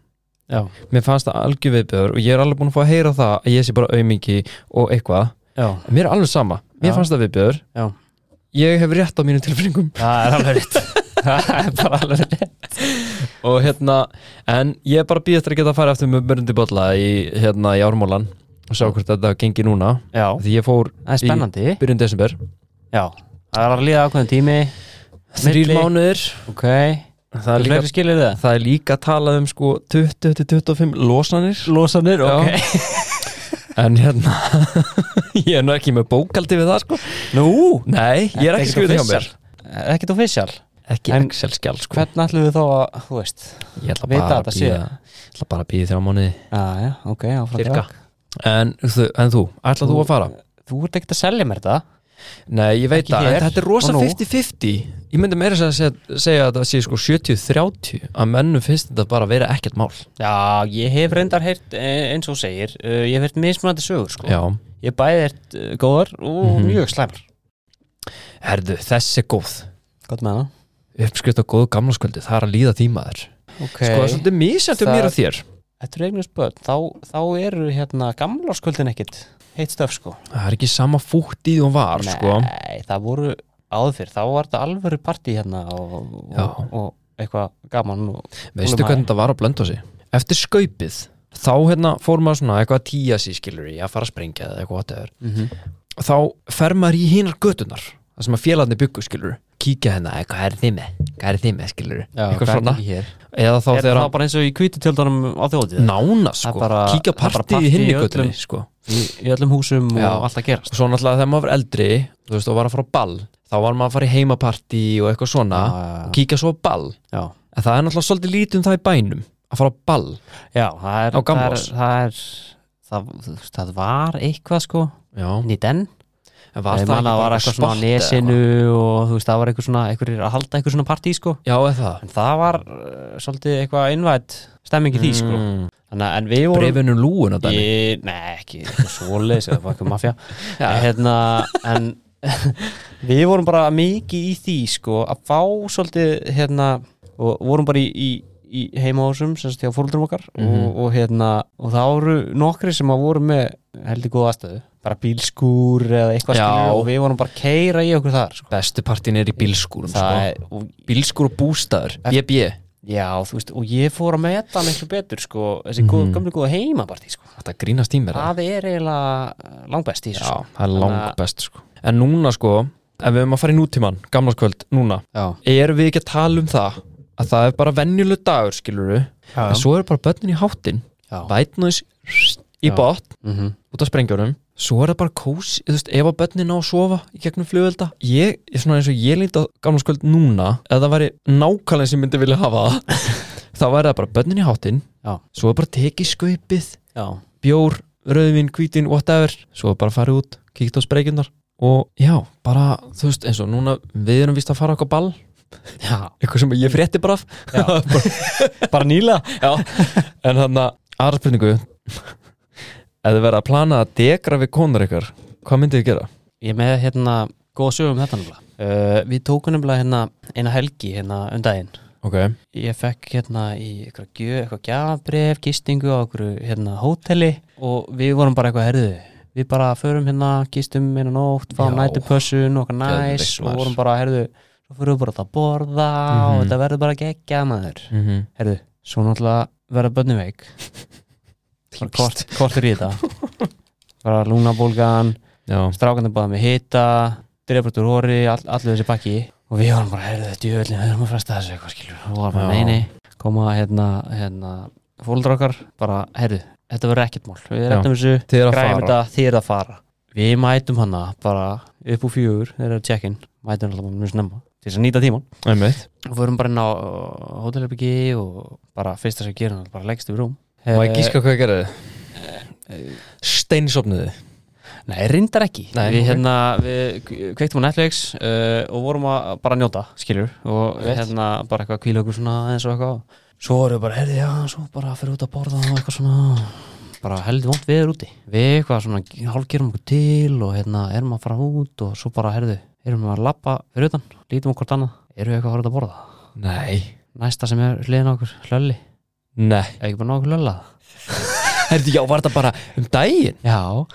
Speaker 2: já,
Speaker 1: mér fannst það algjör viðbjöður og ég er alveg búin að fá að heyra það að ég sé bara aumingi og eitthvað
Speaker 2: já,
Speaker 1: mér er alveg sama, mér
Speaker 2: Já.
Speaker 1: fannst það viðbjöður
Speaker 2: já
Speaker 1: ég hef rétt á mínum tilfinningum
Speaker 2: það er alveg rétt það er bara alveg rétt
Speaker 1: og hérna, en ég er bara býðast að geta að fara eftir með brundi bolla í, hérna, í ármólan og sjá hvort þetta gengi núna
Speaker 2: já,
Speaker 1: því ég fór
Speaker 2: það er spennandi
Speaker 1: í byrjun desember
Speaker 2: já, það er að líða ákveðin tími
Speaker 1: þrýr
Speaker 2: Milli.
Speaker 1: mánuður
Speaker 2: ok, það
Speaker 1: það er
Speaker 2: er
Speaker 1: líka
Speaker 2: fleiri skilir það
Speaker 1: Það er líka talað um sko 20-25 losanir
Speaker 2: losanir,
Speaker 1: ok. En hérna Ég er nú ekki með bókaldi við það sko
Speaker 2: nú,
Speaker 1: Nei, ég er ekki skrifið hjá mér
Speaker 2: Eh, ekkert official,
Speaker 1: Ekki
Speaker 2: En-
Speaker 1: Excel-skjál sko
Speaker 2: hvernig ætlum við þá að þú veist,
Speaker 1: Ég ætla
Speaker 2: vita
Speaker 1: bara
Speaker 2: þetta
Speaker 1: að
Speaker 2: sé?
Speaker 1: bíða Ég ætla bara að bíða þrjá mánuði
Speaker 2: já, já, ok áfram
Speaker 1: Cirka.
Speaker 2: takk.
Speaker 1: en, þú- en þú, ætlað þú að fara?
Speaker 2: þú ert ekkert að selja mér það
Speaker 1: Nei, ég veit
Speaker 2: Ekki
Speaker 1: það,
Speaker 2: hér
Speaker 1: en þetta er rosa
Speaker 2: og nú.
Speaker 1: 50-50 Ég myndi meira að segja, segja að það sé sko 70-30 að mennum finnst þetta bara að vera ekkert mál sko.
Speaker 2: Já, ég hef reyndar heyrt eh, eins og þú segir, uh, ég hef heyrt mismunandi sögur sko.
Speaker 1: Já,
Speaker 2: Ég hef bæði heyrt uh, góðar og
Speaker 1: Mhm.
Speaker 2: mjög slæmar
Speaker 1: herðu, þessi er góð
Speaker 2: Gott með það
Speaker 1: Uppskrift á góðu gamlaskvöldi, það er að líða tímaður
Speaker 2: Ok,
Speaker 1: Sko, það er svolítið mísjönd um
Speaker 2: Það-
Speaker 1: mér og þér
Speaker 2: þetta er eignast börn þá, þá eru hérna gamlarskvöldin ekkit heitt stöf sko
Speaker 1: Það er ekki sama fútt í því hún var sko.
Speaker 2: Nei, það voru áður fyrr, þá var þetta alvöru partí hérna og,
Speaker 1: Já.
Speaker 2: og, og eitthvað gaman og,
Speaker 1: Veistu
Speaker 2: Þolinmæði.
Speaker 1: hvernig þetta var að blönda sig? Eftir skaupið Þá hérna fór maður svona eitthvað að tíja sig skilur í að fara að sprengja eða eitthvað whatever.
Speaker 2: mm
Speaker 1: Og Þá fer maður í hinar götunar Það sem að félagarnir byggu skilur Kíkja hérna, "Æ, hvað er þið með? Hvað er þið með skilur? eitthvað svona
Speaker 2: Er
Speaker 1: Eða þá
Speaker 2: það
Speaker 1: þegar
Speaker 2: bara eins og í kvítutjöldunum á þjóðið
Speaker 1: nána
Speaker 2: Það
Speaker 1: sko
Speaker 2: er bara-
Speaker 1: Kíkja
Speaker 2: það er bara
Speaker 1: partí í hinni
Speaker 2: partí í
Speaker 1: götunni
Speaker 2: öllum-
Speaker 1: sko.
Speaker 2: í, í öllum húsum
Speaker 1: Já.
Speaker 2: og allt að gerast
Speaker 1: Og svo náttúrulega þegar maður var eldri Þú veist, og var að fara á ball Þá var maður að fara í heimapartí og eitthvað svona Og kíkja svo á ball
Speaker 2: Já.
Speaker 1: En það er náttúrulega svolítið lítið um það í bænum Að fara á ball
Speaker 2: Já, það er,
Speaker 1: Á Gamlás.
Speaker 2: það er, það, er það, það, það var eitthvað sko,
Speaker 1: Já.
Speaker 2: nýtt enn
Speaker 1: En það
Speaker 2: Ég man að
Speaker 1: ekki
Speaker 2: það var
Speaker 1: bara
Speaker 2: eitthvað
Speaker 1: sport
Speaker 2: svona á
Speaker 1: eða
Speaker 2: nesinu
Speaker 1: eitthvað?
Speaker 2: og þú veist, það var eitthvað svona einhverjir að halda eitthvað svona partí sko
Speaker 1: Já, eða það
Speaker 2: en það var uh, svolítið eitthvað innvætt stemming í því sko
Speaker 1: Mm.
Speaker 2: Þannig, að- en við vorum
Speaker 1: Breifunum lúuna dæmi
Speaker 2: ég, Nei, ekki eitthvað svoleiðis eða það var eitthvað mafja
Speaker 1: Já.
Speaker 2: En hérna, en við vorum bara mikið í því sko að fá svolítið hérna og vorum bara í, í í heimahásum sem sagt hjá fóruldrum okkar
Speaker 1: Mhm.
Speaker 2: og, og hérna, og það voru nokkri sem að voru með heldur góða aðstöðu bara bílskúr eða eitthvað
Speaker 1: Já.
Speaker 2: skilur og við vorum bara að keira í okkur þar sko.
Speaker 1: Bestu partin er í bílskúrum
Speaker 2: það
Speaker 1: sko.
Speaker 2: er, og,
Speaker 1: Bílskúr og bústaður BB
Speaker 2: já, þú veist, og ég fór að meta hann eitthvað betur, sko, þessi mm -hmm. gömlu góða heimapartí, sko,
Speaker 1: Mhm. Þetta grínast í mér það
Speaker 2: það er eiginlega eh, langbest í þessu,
Speaker 1: Já,
Speaker 2: sko.
Speaker 1: það er lang
Speaker 2: Þannig að-
Speaker 1: best sko En núna sko Ef við erum að fara í nútíman Gamlaskvöld núna
Speaker 2: já,
Speaker 1: Erum við ekki að tala um það Að það er bara venjuleg dagur skilur við
Speaker 2: Já.
Speaker 1: En svo eru bara börnin í háttin
Speaker 2: já,
Speaker 1: Vætnus í
Speaker 2: Já.
Speaker 1: bótt
Speaker 2: mhm,
Speaker 1: út af sprengjunum svo er það bara kós, þú veist, ef að bönni ná að sofa í gegnum flugvelda ég, ég svona eins og ég líti á gamla sköld núna ef það væri nákvæmlega sem ég myndi vilja hafa það þá væri það bara bönnin í hátinn
Speaker 2: Já.
Speaker 1: svo er bara tekið skaupið
Speaker 2: já,
Speaker 1: bjór, rauðvin, hvítin, whatever svo er bara farið út, kíkt á spreikjurnar og já, bara, þú veist, eins og núna við erum vist að fara okkur ball
Speaker 2: Já,
Speaker 1: eitthvað sem ég frétti bara af
Speaker 2: Já.
Speaker 1: bara,
Speaker 2: bara nýla
Speaker 1: já. en þannig að aðra spurningu ef þið verða að plana að degra við konar ykkar hvað myndið þið gera?
Speaker 2: Ég er með hérna góða sögum um þetta nefnilega uh, Við tókum nefnilega hérna eina helgi hérna um daginn
Speaker 1: ok,
Speaker 2: Ég fekk hérna í eitthvað gjöf, eitthvað gjafbref, gistingu á okkur hérna hóteli og við vorum bara eitthvað herðu Við bara förum hérna, gistum einu nótt, fáum
Speaker 1: Já.
Speaker 2: nætupössun og okkar næs
Speaker 1: Geðveikt,
Speaker 2: og
Speaker 1: maður.
Speaker 2: vorum bara herðu Svo förum við bara út að borða og
Speaker 1: Mhm.
Speaker 2: þetta verður bara geggja maður
Speaker 1: mm -hmm.
Speaker 2: Herðu, svo náttúrulega verða börnum veik Bara kort, kortur í þetta Bara lúnabólgan
Speaker 1: já,
Speaker 2: strákandi báði með hita dreifbært úr hóri, all, allir þessi bakki og við varum bara, heyrðu þetta jöfnlin við erum að fresta þessu eitthvað skilur og varum bara,
Speaker 1: Já.
Speaker 2: nei, nei, koma hérna, hérna fólkdra okkar, bara, heyrðu þetta verður ekkert mál, við
Speaker 1: Já.
Speaker 2: erum þessu
Speaker 1: þið er að
Speaker 2: græfum
Speaker 1: fara
Speaker 2: þetta, þið er að fara við mætum hana, bara upp úr fjögur þeir eru að check-in, mætum hana alltaf mjög snemma til þess að nýta tíman
Speaker 1: einmitt,
Speaker 2: og við vorum bara inn á uh, hótelherbyggi og bara fyrst þess að gera hann, bara leggst við rúm
Speaker 1: má
Speaker 2: Eh,
Speaker 1: ég gíska hvað gerði steinsopnuði
Speaker 2: Eh, Nei, reyndar ekki
Speaker 1: Nei,
Speaker 2: Við
Speaker 1: ok.
Speaker 2: hérna, við kveiktum á Netflix uh, og vorum að bara njóta, skilur og
Speaker 1: Rétt.
Speaker 2: hérna bara eitthvað kvíla okkur svona eins og eitthvað Svo vorum við bara, heyrði, já, svo bara fyrir út að borða og eitthvað svona bara heldur vond veður úti Við eitthvað svona hálfgerum okkur til og hérna erum að fara út og svo bara, heyrðu, erum við að labba fyrir utan, lítum okkur annað Erum við eitthvað að fara út að borða?
Speaker 1: nei,
Speaker 2: Næsta sem er hliðin á okkur, hlölli
Speaker 1: nei
Speaker 2: Er ekki bara ná okkur hlölla?
Speaker 1: Herðu, já, var þetta bara um daginn?
Speaker 2: Já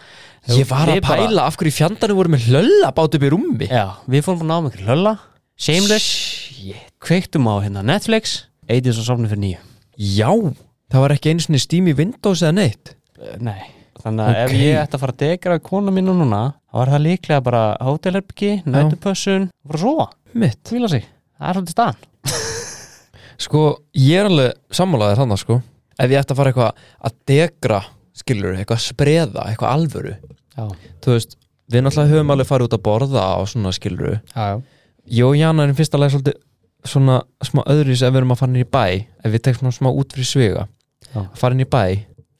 Speaker 1: Ég var að
Speaker 2: Við bara-
Speaker 1: pæla af hverju fjandarnir voru með hlölla bát upp í rúmi
Speaker 2: Já, við fórum bara að ná okkur hlölla Shameless
Speaker 1: Shit.
Speaker 2: kveiktum á hérna Netflix Eitir svo sofnum fyrir nýju
Speaker 1: Já, það var ekki einu svona Steam í Windows eða neitt
Speaker 2: Eh, Nei Þannig að ef
Speaker 1: Ok.
Speaker 2: ég ætti að fara að degra kona mínu núna þá var það líklega bara hótelherbyggi, nættupössun og bara sofa,
Speaker 1: Mitt
Speaker 2: hvíla sig Það er svolítið staðan
Speaker 1: Sko, ég er alveg sammálaðið þannig sko Ef ég ætti að fara eitthvað að degra skilur, eitthvað að spreða, eitthvað alvöru
Speaker 2: Já,
Speaker 1: Þú veist, við náttúrulega höfum alveg farið út að borða á svona skilur
Speaker 2: já, já
Speaker 1: Jó, Jana er í fyrsta lagi svolítið svona smá öðruvis ef við erum að fara inn í bæ ef við tekst svona smá út fyrir svega
Speaker 2: Já.
Speaker 1: að fara inn í bæ,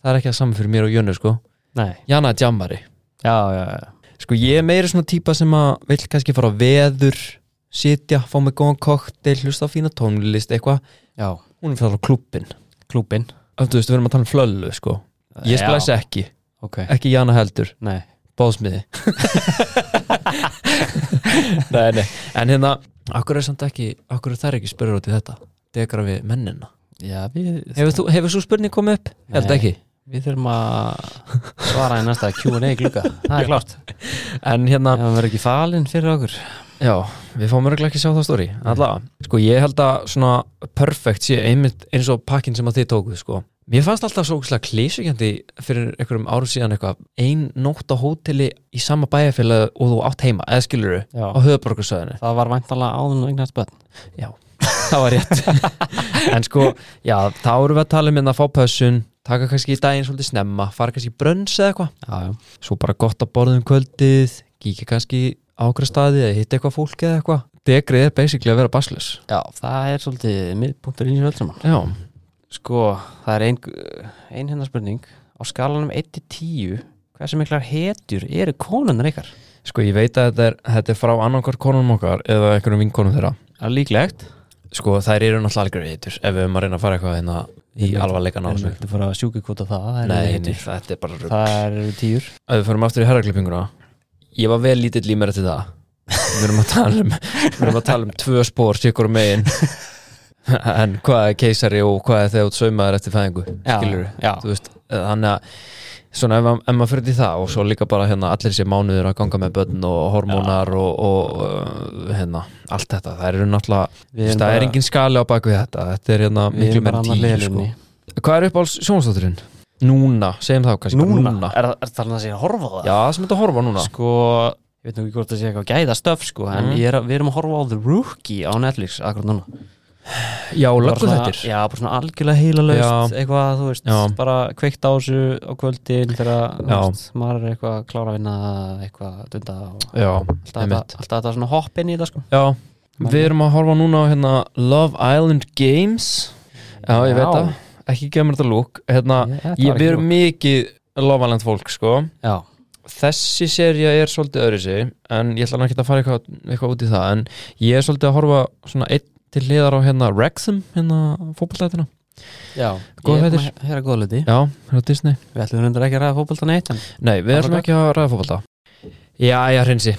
Speaker 1: það er ekki að saman fyrir mér og Jönnu sko
Speaker 2: Nei,
Speaker 1: Jana er djammari
Speaker 2: já, já, já
Speaker 1: Sko, ég er meira svona típa sem að vill kannski fara á veður sitja, fá mig góðan koktel, hlusta á fína tónlist eitthvað,
Speaker 2: Já,
Speaker 1: hún er fyrir á klubbin
Speaker 2: klúbin
Speaker 1: Þú veist, við erum að tala um flöllu, sko Ég splæs ekki,
Speaker 2: Ok,
Speaker 1: ekki Jana heldur
Speaker 2: nei
Speaker 1: Bóðsmiði Nei, nei En hérna, akkur er samt ekki Akkur er þær ekki spurður út í þetta Degra við mennina
Speaker 2: Já, við
Speaker 1: Hefur þú, hefur svo spurning komið upp?
Speaker 2: Nei.
Speaker 1: Held ekki
Speaker 2: Við þurfum að svara í næsta Q&A glugga Það er klárt Ef
Speaker 1: En hérna,
Speaker 2: hann verður ekki falinn fyrir okkur
Speaker 1: já, við fáum örgulega ekki að sjá það stóri Allavega, sko ég held að svona Perfect sé einmitt eins og pakkin sem að þið tókuð, sko Mér fannst alltaf svo ógæslega klísugjandi fyrir einhverjum árum síðan eitthvað ein nótt á hóteli í sama bæjarfélag og þú átt heima, eða skilur
Speaker 2: Já
Speaker 1: á höfuborgarsöðinu
Speaker 2: Það var væntalega áðun og eignast börn
Speaker 1: það var rétt en sko, já, þá erum við að tala um hérna að fá pössun, taka kannski í daginn svolítið snemma, fara kannski í brönns eða eitthvað
Speaker 2: Já, já
Speaker 1: svo bara gott að borða um kvöldið kíkja kannski á okkur staði eða hitta eitthvað fólk eða eitthvað degrið er basically að vera baslus
Speaker 2: Já, það er svolítið miðpunktur í þessu öll saman.
Speaker 1: já,
Speaker 2: Sko, það er ein, ein hérna spurning á skalanum 1 til 10 hversu miklar hetjur eru konunnar ykkar?
Speaker 1: sko ég veit að þetta er, þetta er frá annarkvart konunum okkar eða einhverjum vinkonum þeirra
Speaker 2: Það er líklegt
Speaker 1: sko þær eru náttúrulega algjör heitur ef við höfum að reyna að fara eitthvað hérna í
Speaker 2: Einmitt.
Speaker 1: alvarleikan á
Speaker 2: en
Speaker 1: þessu
Speaker 2: þetta fór að sjúkikvota það, það eru
Speaker 1: nei, nei,
Speaker 2: hetjur
Speaker 1: þetta er bara rugl.
Speaker 2: Það eru tíur
Speaker 1: að við förum aftur í herraklippinguna ég var vel lítill í mér til það við erum að tala um við erum að tala um tvö spór sikkur megin en hvað er keisari og hvað er þegar út saumaður eftir fæðingu skilur
Speaker 2: Já,
Speaker 1: þú veist þannig að svona ef, ef maður fyrir til það og svo líka bara hérna allir sér mánuður að ganga með börn og hormónar og, og uh, hérna allt þetta það eru náttúrulega
Speaker 2: við erum
Speaker 1: það er
Speaker 2: bara,
Speaker 1: engin skali á baku þetta þetta er hérna
Speaker 2: við
Speaker 1: miklu
Speaker 2: erum bara
Speaker 1: meira
Speaker 2: annar
Speaker 1: en tíu sko.
Speaker 2: leðlunni
Speaker 1: hvað er upp á sjónastátturinn? núna, segjum það kannski bara
Speaker 2: Núna, er það er þannig að segja að horfa á það?
Speaker 1: já það sem þetta horfa núna
Speaker 2: Sko, ég veit nú ekki hvort það sé eitthvað gæða stöf sko, en
Speaker 1: Mm.
Speaker 2: ég er, að- við erum að horfa á The Rookie á Netflix akkur núna
Speaker 1: Já,
Speaker 2: Bara
Speaker 1: löggu
Speaker 2: svona-
Speaker 1: þettir
Speaker 2: Já, bara svona algjörlega heilalaust eitthvað, þú veist,
Speaker 1: Já.
Speaker 2: bara kveikt á þessu á kvöldin þegar þú
Speaker 1: Já.
Speaker 2: veist, maður er eitthvað að klára að vinna eitthvað að dunda og
Speaker 1: Já,
Speaker 2: alltaf þetta, alltaf þetta svona hopp inn í þetta sko
Speaker 1: Já, við erum að horfa núna á hérna, Love Island Games Já, ég veit það, ekki gefa mér þetta lúk hérna,
Speaker 2: Ég- þetta var
Speaker 1: ég,
Speaker 2: ekki
Speaker 1: Við erum mikið Love Island fólk, sko
Speaker 2: Já,
Speaker 1: þessi seria er svolítið öðru sig en ég ætla ekki að fara eitthvað, eitthvað út í það en ég er svolítið að horfa svona einn til hliðar á hérna Wrexham hérna fótballtættina
Speaker 2: Já,
Speaker 1: Góð
Speaker 2: ég er
Speaker 1: þættir.
Speaker 2: búinn að hera góða hluti
Speaker 1: já, hérna Disney
Speaker 2: Við ætlum hundar ekki að ræða fótboltan eitt en
Speaker 1: nei, við ætlum
Speaker 2: Afrika.
Speaker 1: ekki að ræða fótballta já, já, hreinsi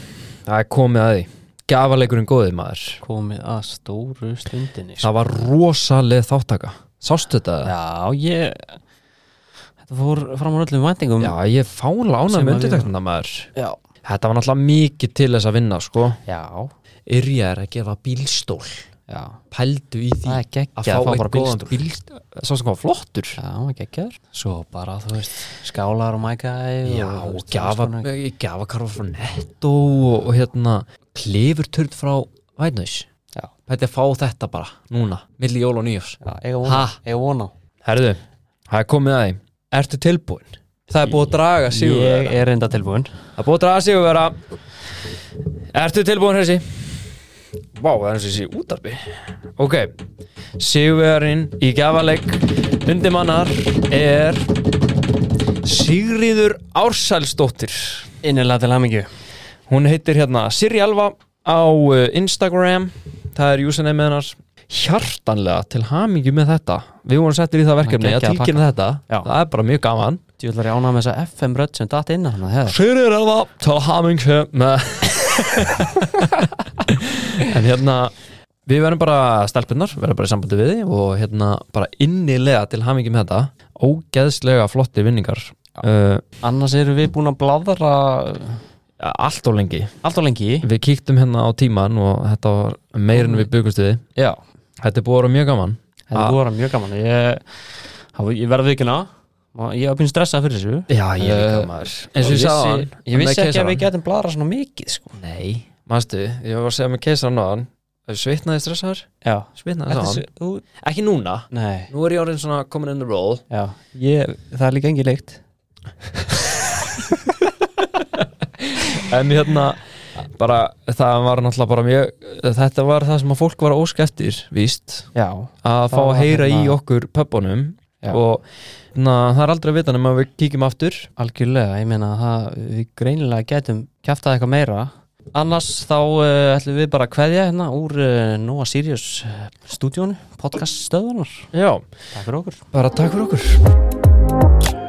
Speaker 1: það er komið að því gafaleikurinn góðið maður
Speaker 2: komið að stóru stundinni sko.
Speaker 1: það var rosaleg þáttaka sástu þetta?
Speaker 2: Já, ég Þetta fór fram á öllum vendingum
Speaker 1: já, ég fála
Speaker 2: Sem
Speaker 1: ánað
Speaker 2: að
Speaker 1: með
Speaker 2: við-
Speaker 1: undirteknuna maður
Speaker 2: já,
Speaker 1: þetta var náttúrulega mikið til þess að vinna sko
Speaker 2: já,
Speaker 1: yrjar að gefa bílstól
Speaker 2: já.
Speaker 1: pældu í því
Speaker 2: Það er
Speaker 1: að
Speaker 2: geggjað
Speaker 1: fá
Speaker 2: að fá
Speaker 1: einn
Speaker 2: bara
Speaker 1: góðan
Speaker 2: bílstúr
Speaker 1: bílstól sá sem var flottur
Speaker 2: Já, það er geggjaður Svo bara, þú veist, skálar og mækæði
Speaker 1: Já, og gafa, gafakarfa frá Netto og, og hérna klifurturn frá Vætnæs
Speaker 2: Já.
Speaker 1: Þetta er fá þetta bara, núna, milli jól og nýjós
Speaker 2: Já, eiga
Speaker 1: Ha?
Speaker 2: vona, eiga vona
Speaker 1: Herðu, það er komið aðeim Ertu tilbúin? Það er búið að draga
Speaker 2: Ég
Speaker 1: sigurvera
Speaker 2: er reynda tilbúin
Speaker 1: Það er búið að draga sigurvera Ertu tilbúin hessi? Vá, það er eins og þessi útarpi Ok, sigurverin í gafaleg undimannar er Sigríður Ársælsdóttir
Speaker 2: Innilega til hamingju
Speaker 1: Hún heitir hérna Siri Alva á uh, Instagram Það er username hennar Hjartanlega til hamingju með þetta Við vorum settir í það verkefni að
Speaker 2: Það er geggjað að
Speaker 1: tilkynna þetta
Speaker 2: Já.
Speaker 1: Það er bara mjög gaman
Speaker 2: Djúlar ég ánað með þessa FM rödd sem datt inn Þannig að hefða
Speaker 1: Siri Alva til hamingju með En hérna Við verðum bara stelpunnar, verðum bara í sambandi við því og hérna bara innilega til hamingju með þetta Ógeðslega flottir vinningar uh,
Speaker 2: Annars erum við búin að bladra
Speaker 1: Allt og lengi
Speaker 2: allt og lengi
Speaker 1: Við kíktum hérna á tíman og þetta var meir en við byggumst við
Speaker 2: Já
Speaker 1: Þetta er búið að vera mjög gaman
Speaker 2: Þetta
Speaker 1: Ah.
Speaker 2: ah. voru mjög gaman Ég, hafa- ég verði vikina Ég hef búin stressað fyrir þessu
Speaker 1: Já,
Speaker 2: ég líka,
Speaker 1: maður Uh, Eins og ég sagði hann
Speaker 2: Ég vissi ekki að við getum bladra svona mikið sko.
Speaker 1: Nei, manstu, ég var að segja með keisaran á hann Svitnaði stressaður,
Speaker 2: Já
Speaker 1: svitnaði sá
Speaker 2: Þetta er
Speaker 1: hann
Speaker 2: svo- þú-
Speaker 1: Ekki núna,
Speaker 2: Nei
Speaker 1: nú er ég orðin svona komin in the roll
Speaker 2: Já ég, Það er líka engi leikt
Speaker 1: En hérna, bara það var náttúrulega bara mjög Þetta var það sem að fólk var að óska eftir, víst
Speaker 2: Já
Speaker 1: Að fá
Speaker 2: var
Speaker 1: að heyra í
Speaker 2: hérna-
Speaker 1: okkur pöppunum
Speaker 2: Já.
Speaker 1: Og na, það er aldrei að vita nema að við kíkjum aftur
Speaker 2: Algjörlega Ég meina það Við greinilega getum kæftað eitthvað meira Annars þá uh, ætlum við bara að kveðja hérna úr uh, Nóa Sirius uh, stúdíónu, podcast stöðunar
Speaker 1: Já,
Speaker 2: Takk fyrir okkur
Speaker 1: bara takk fyrir okkur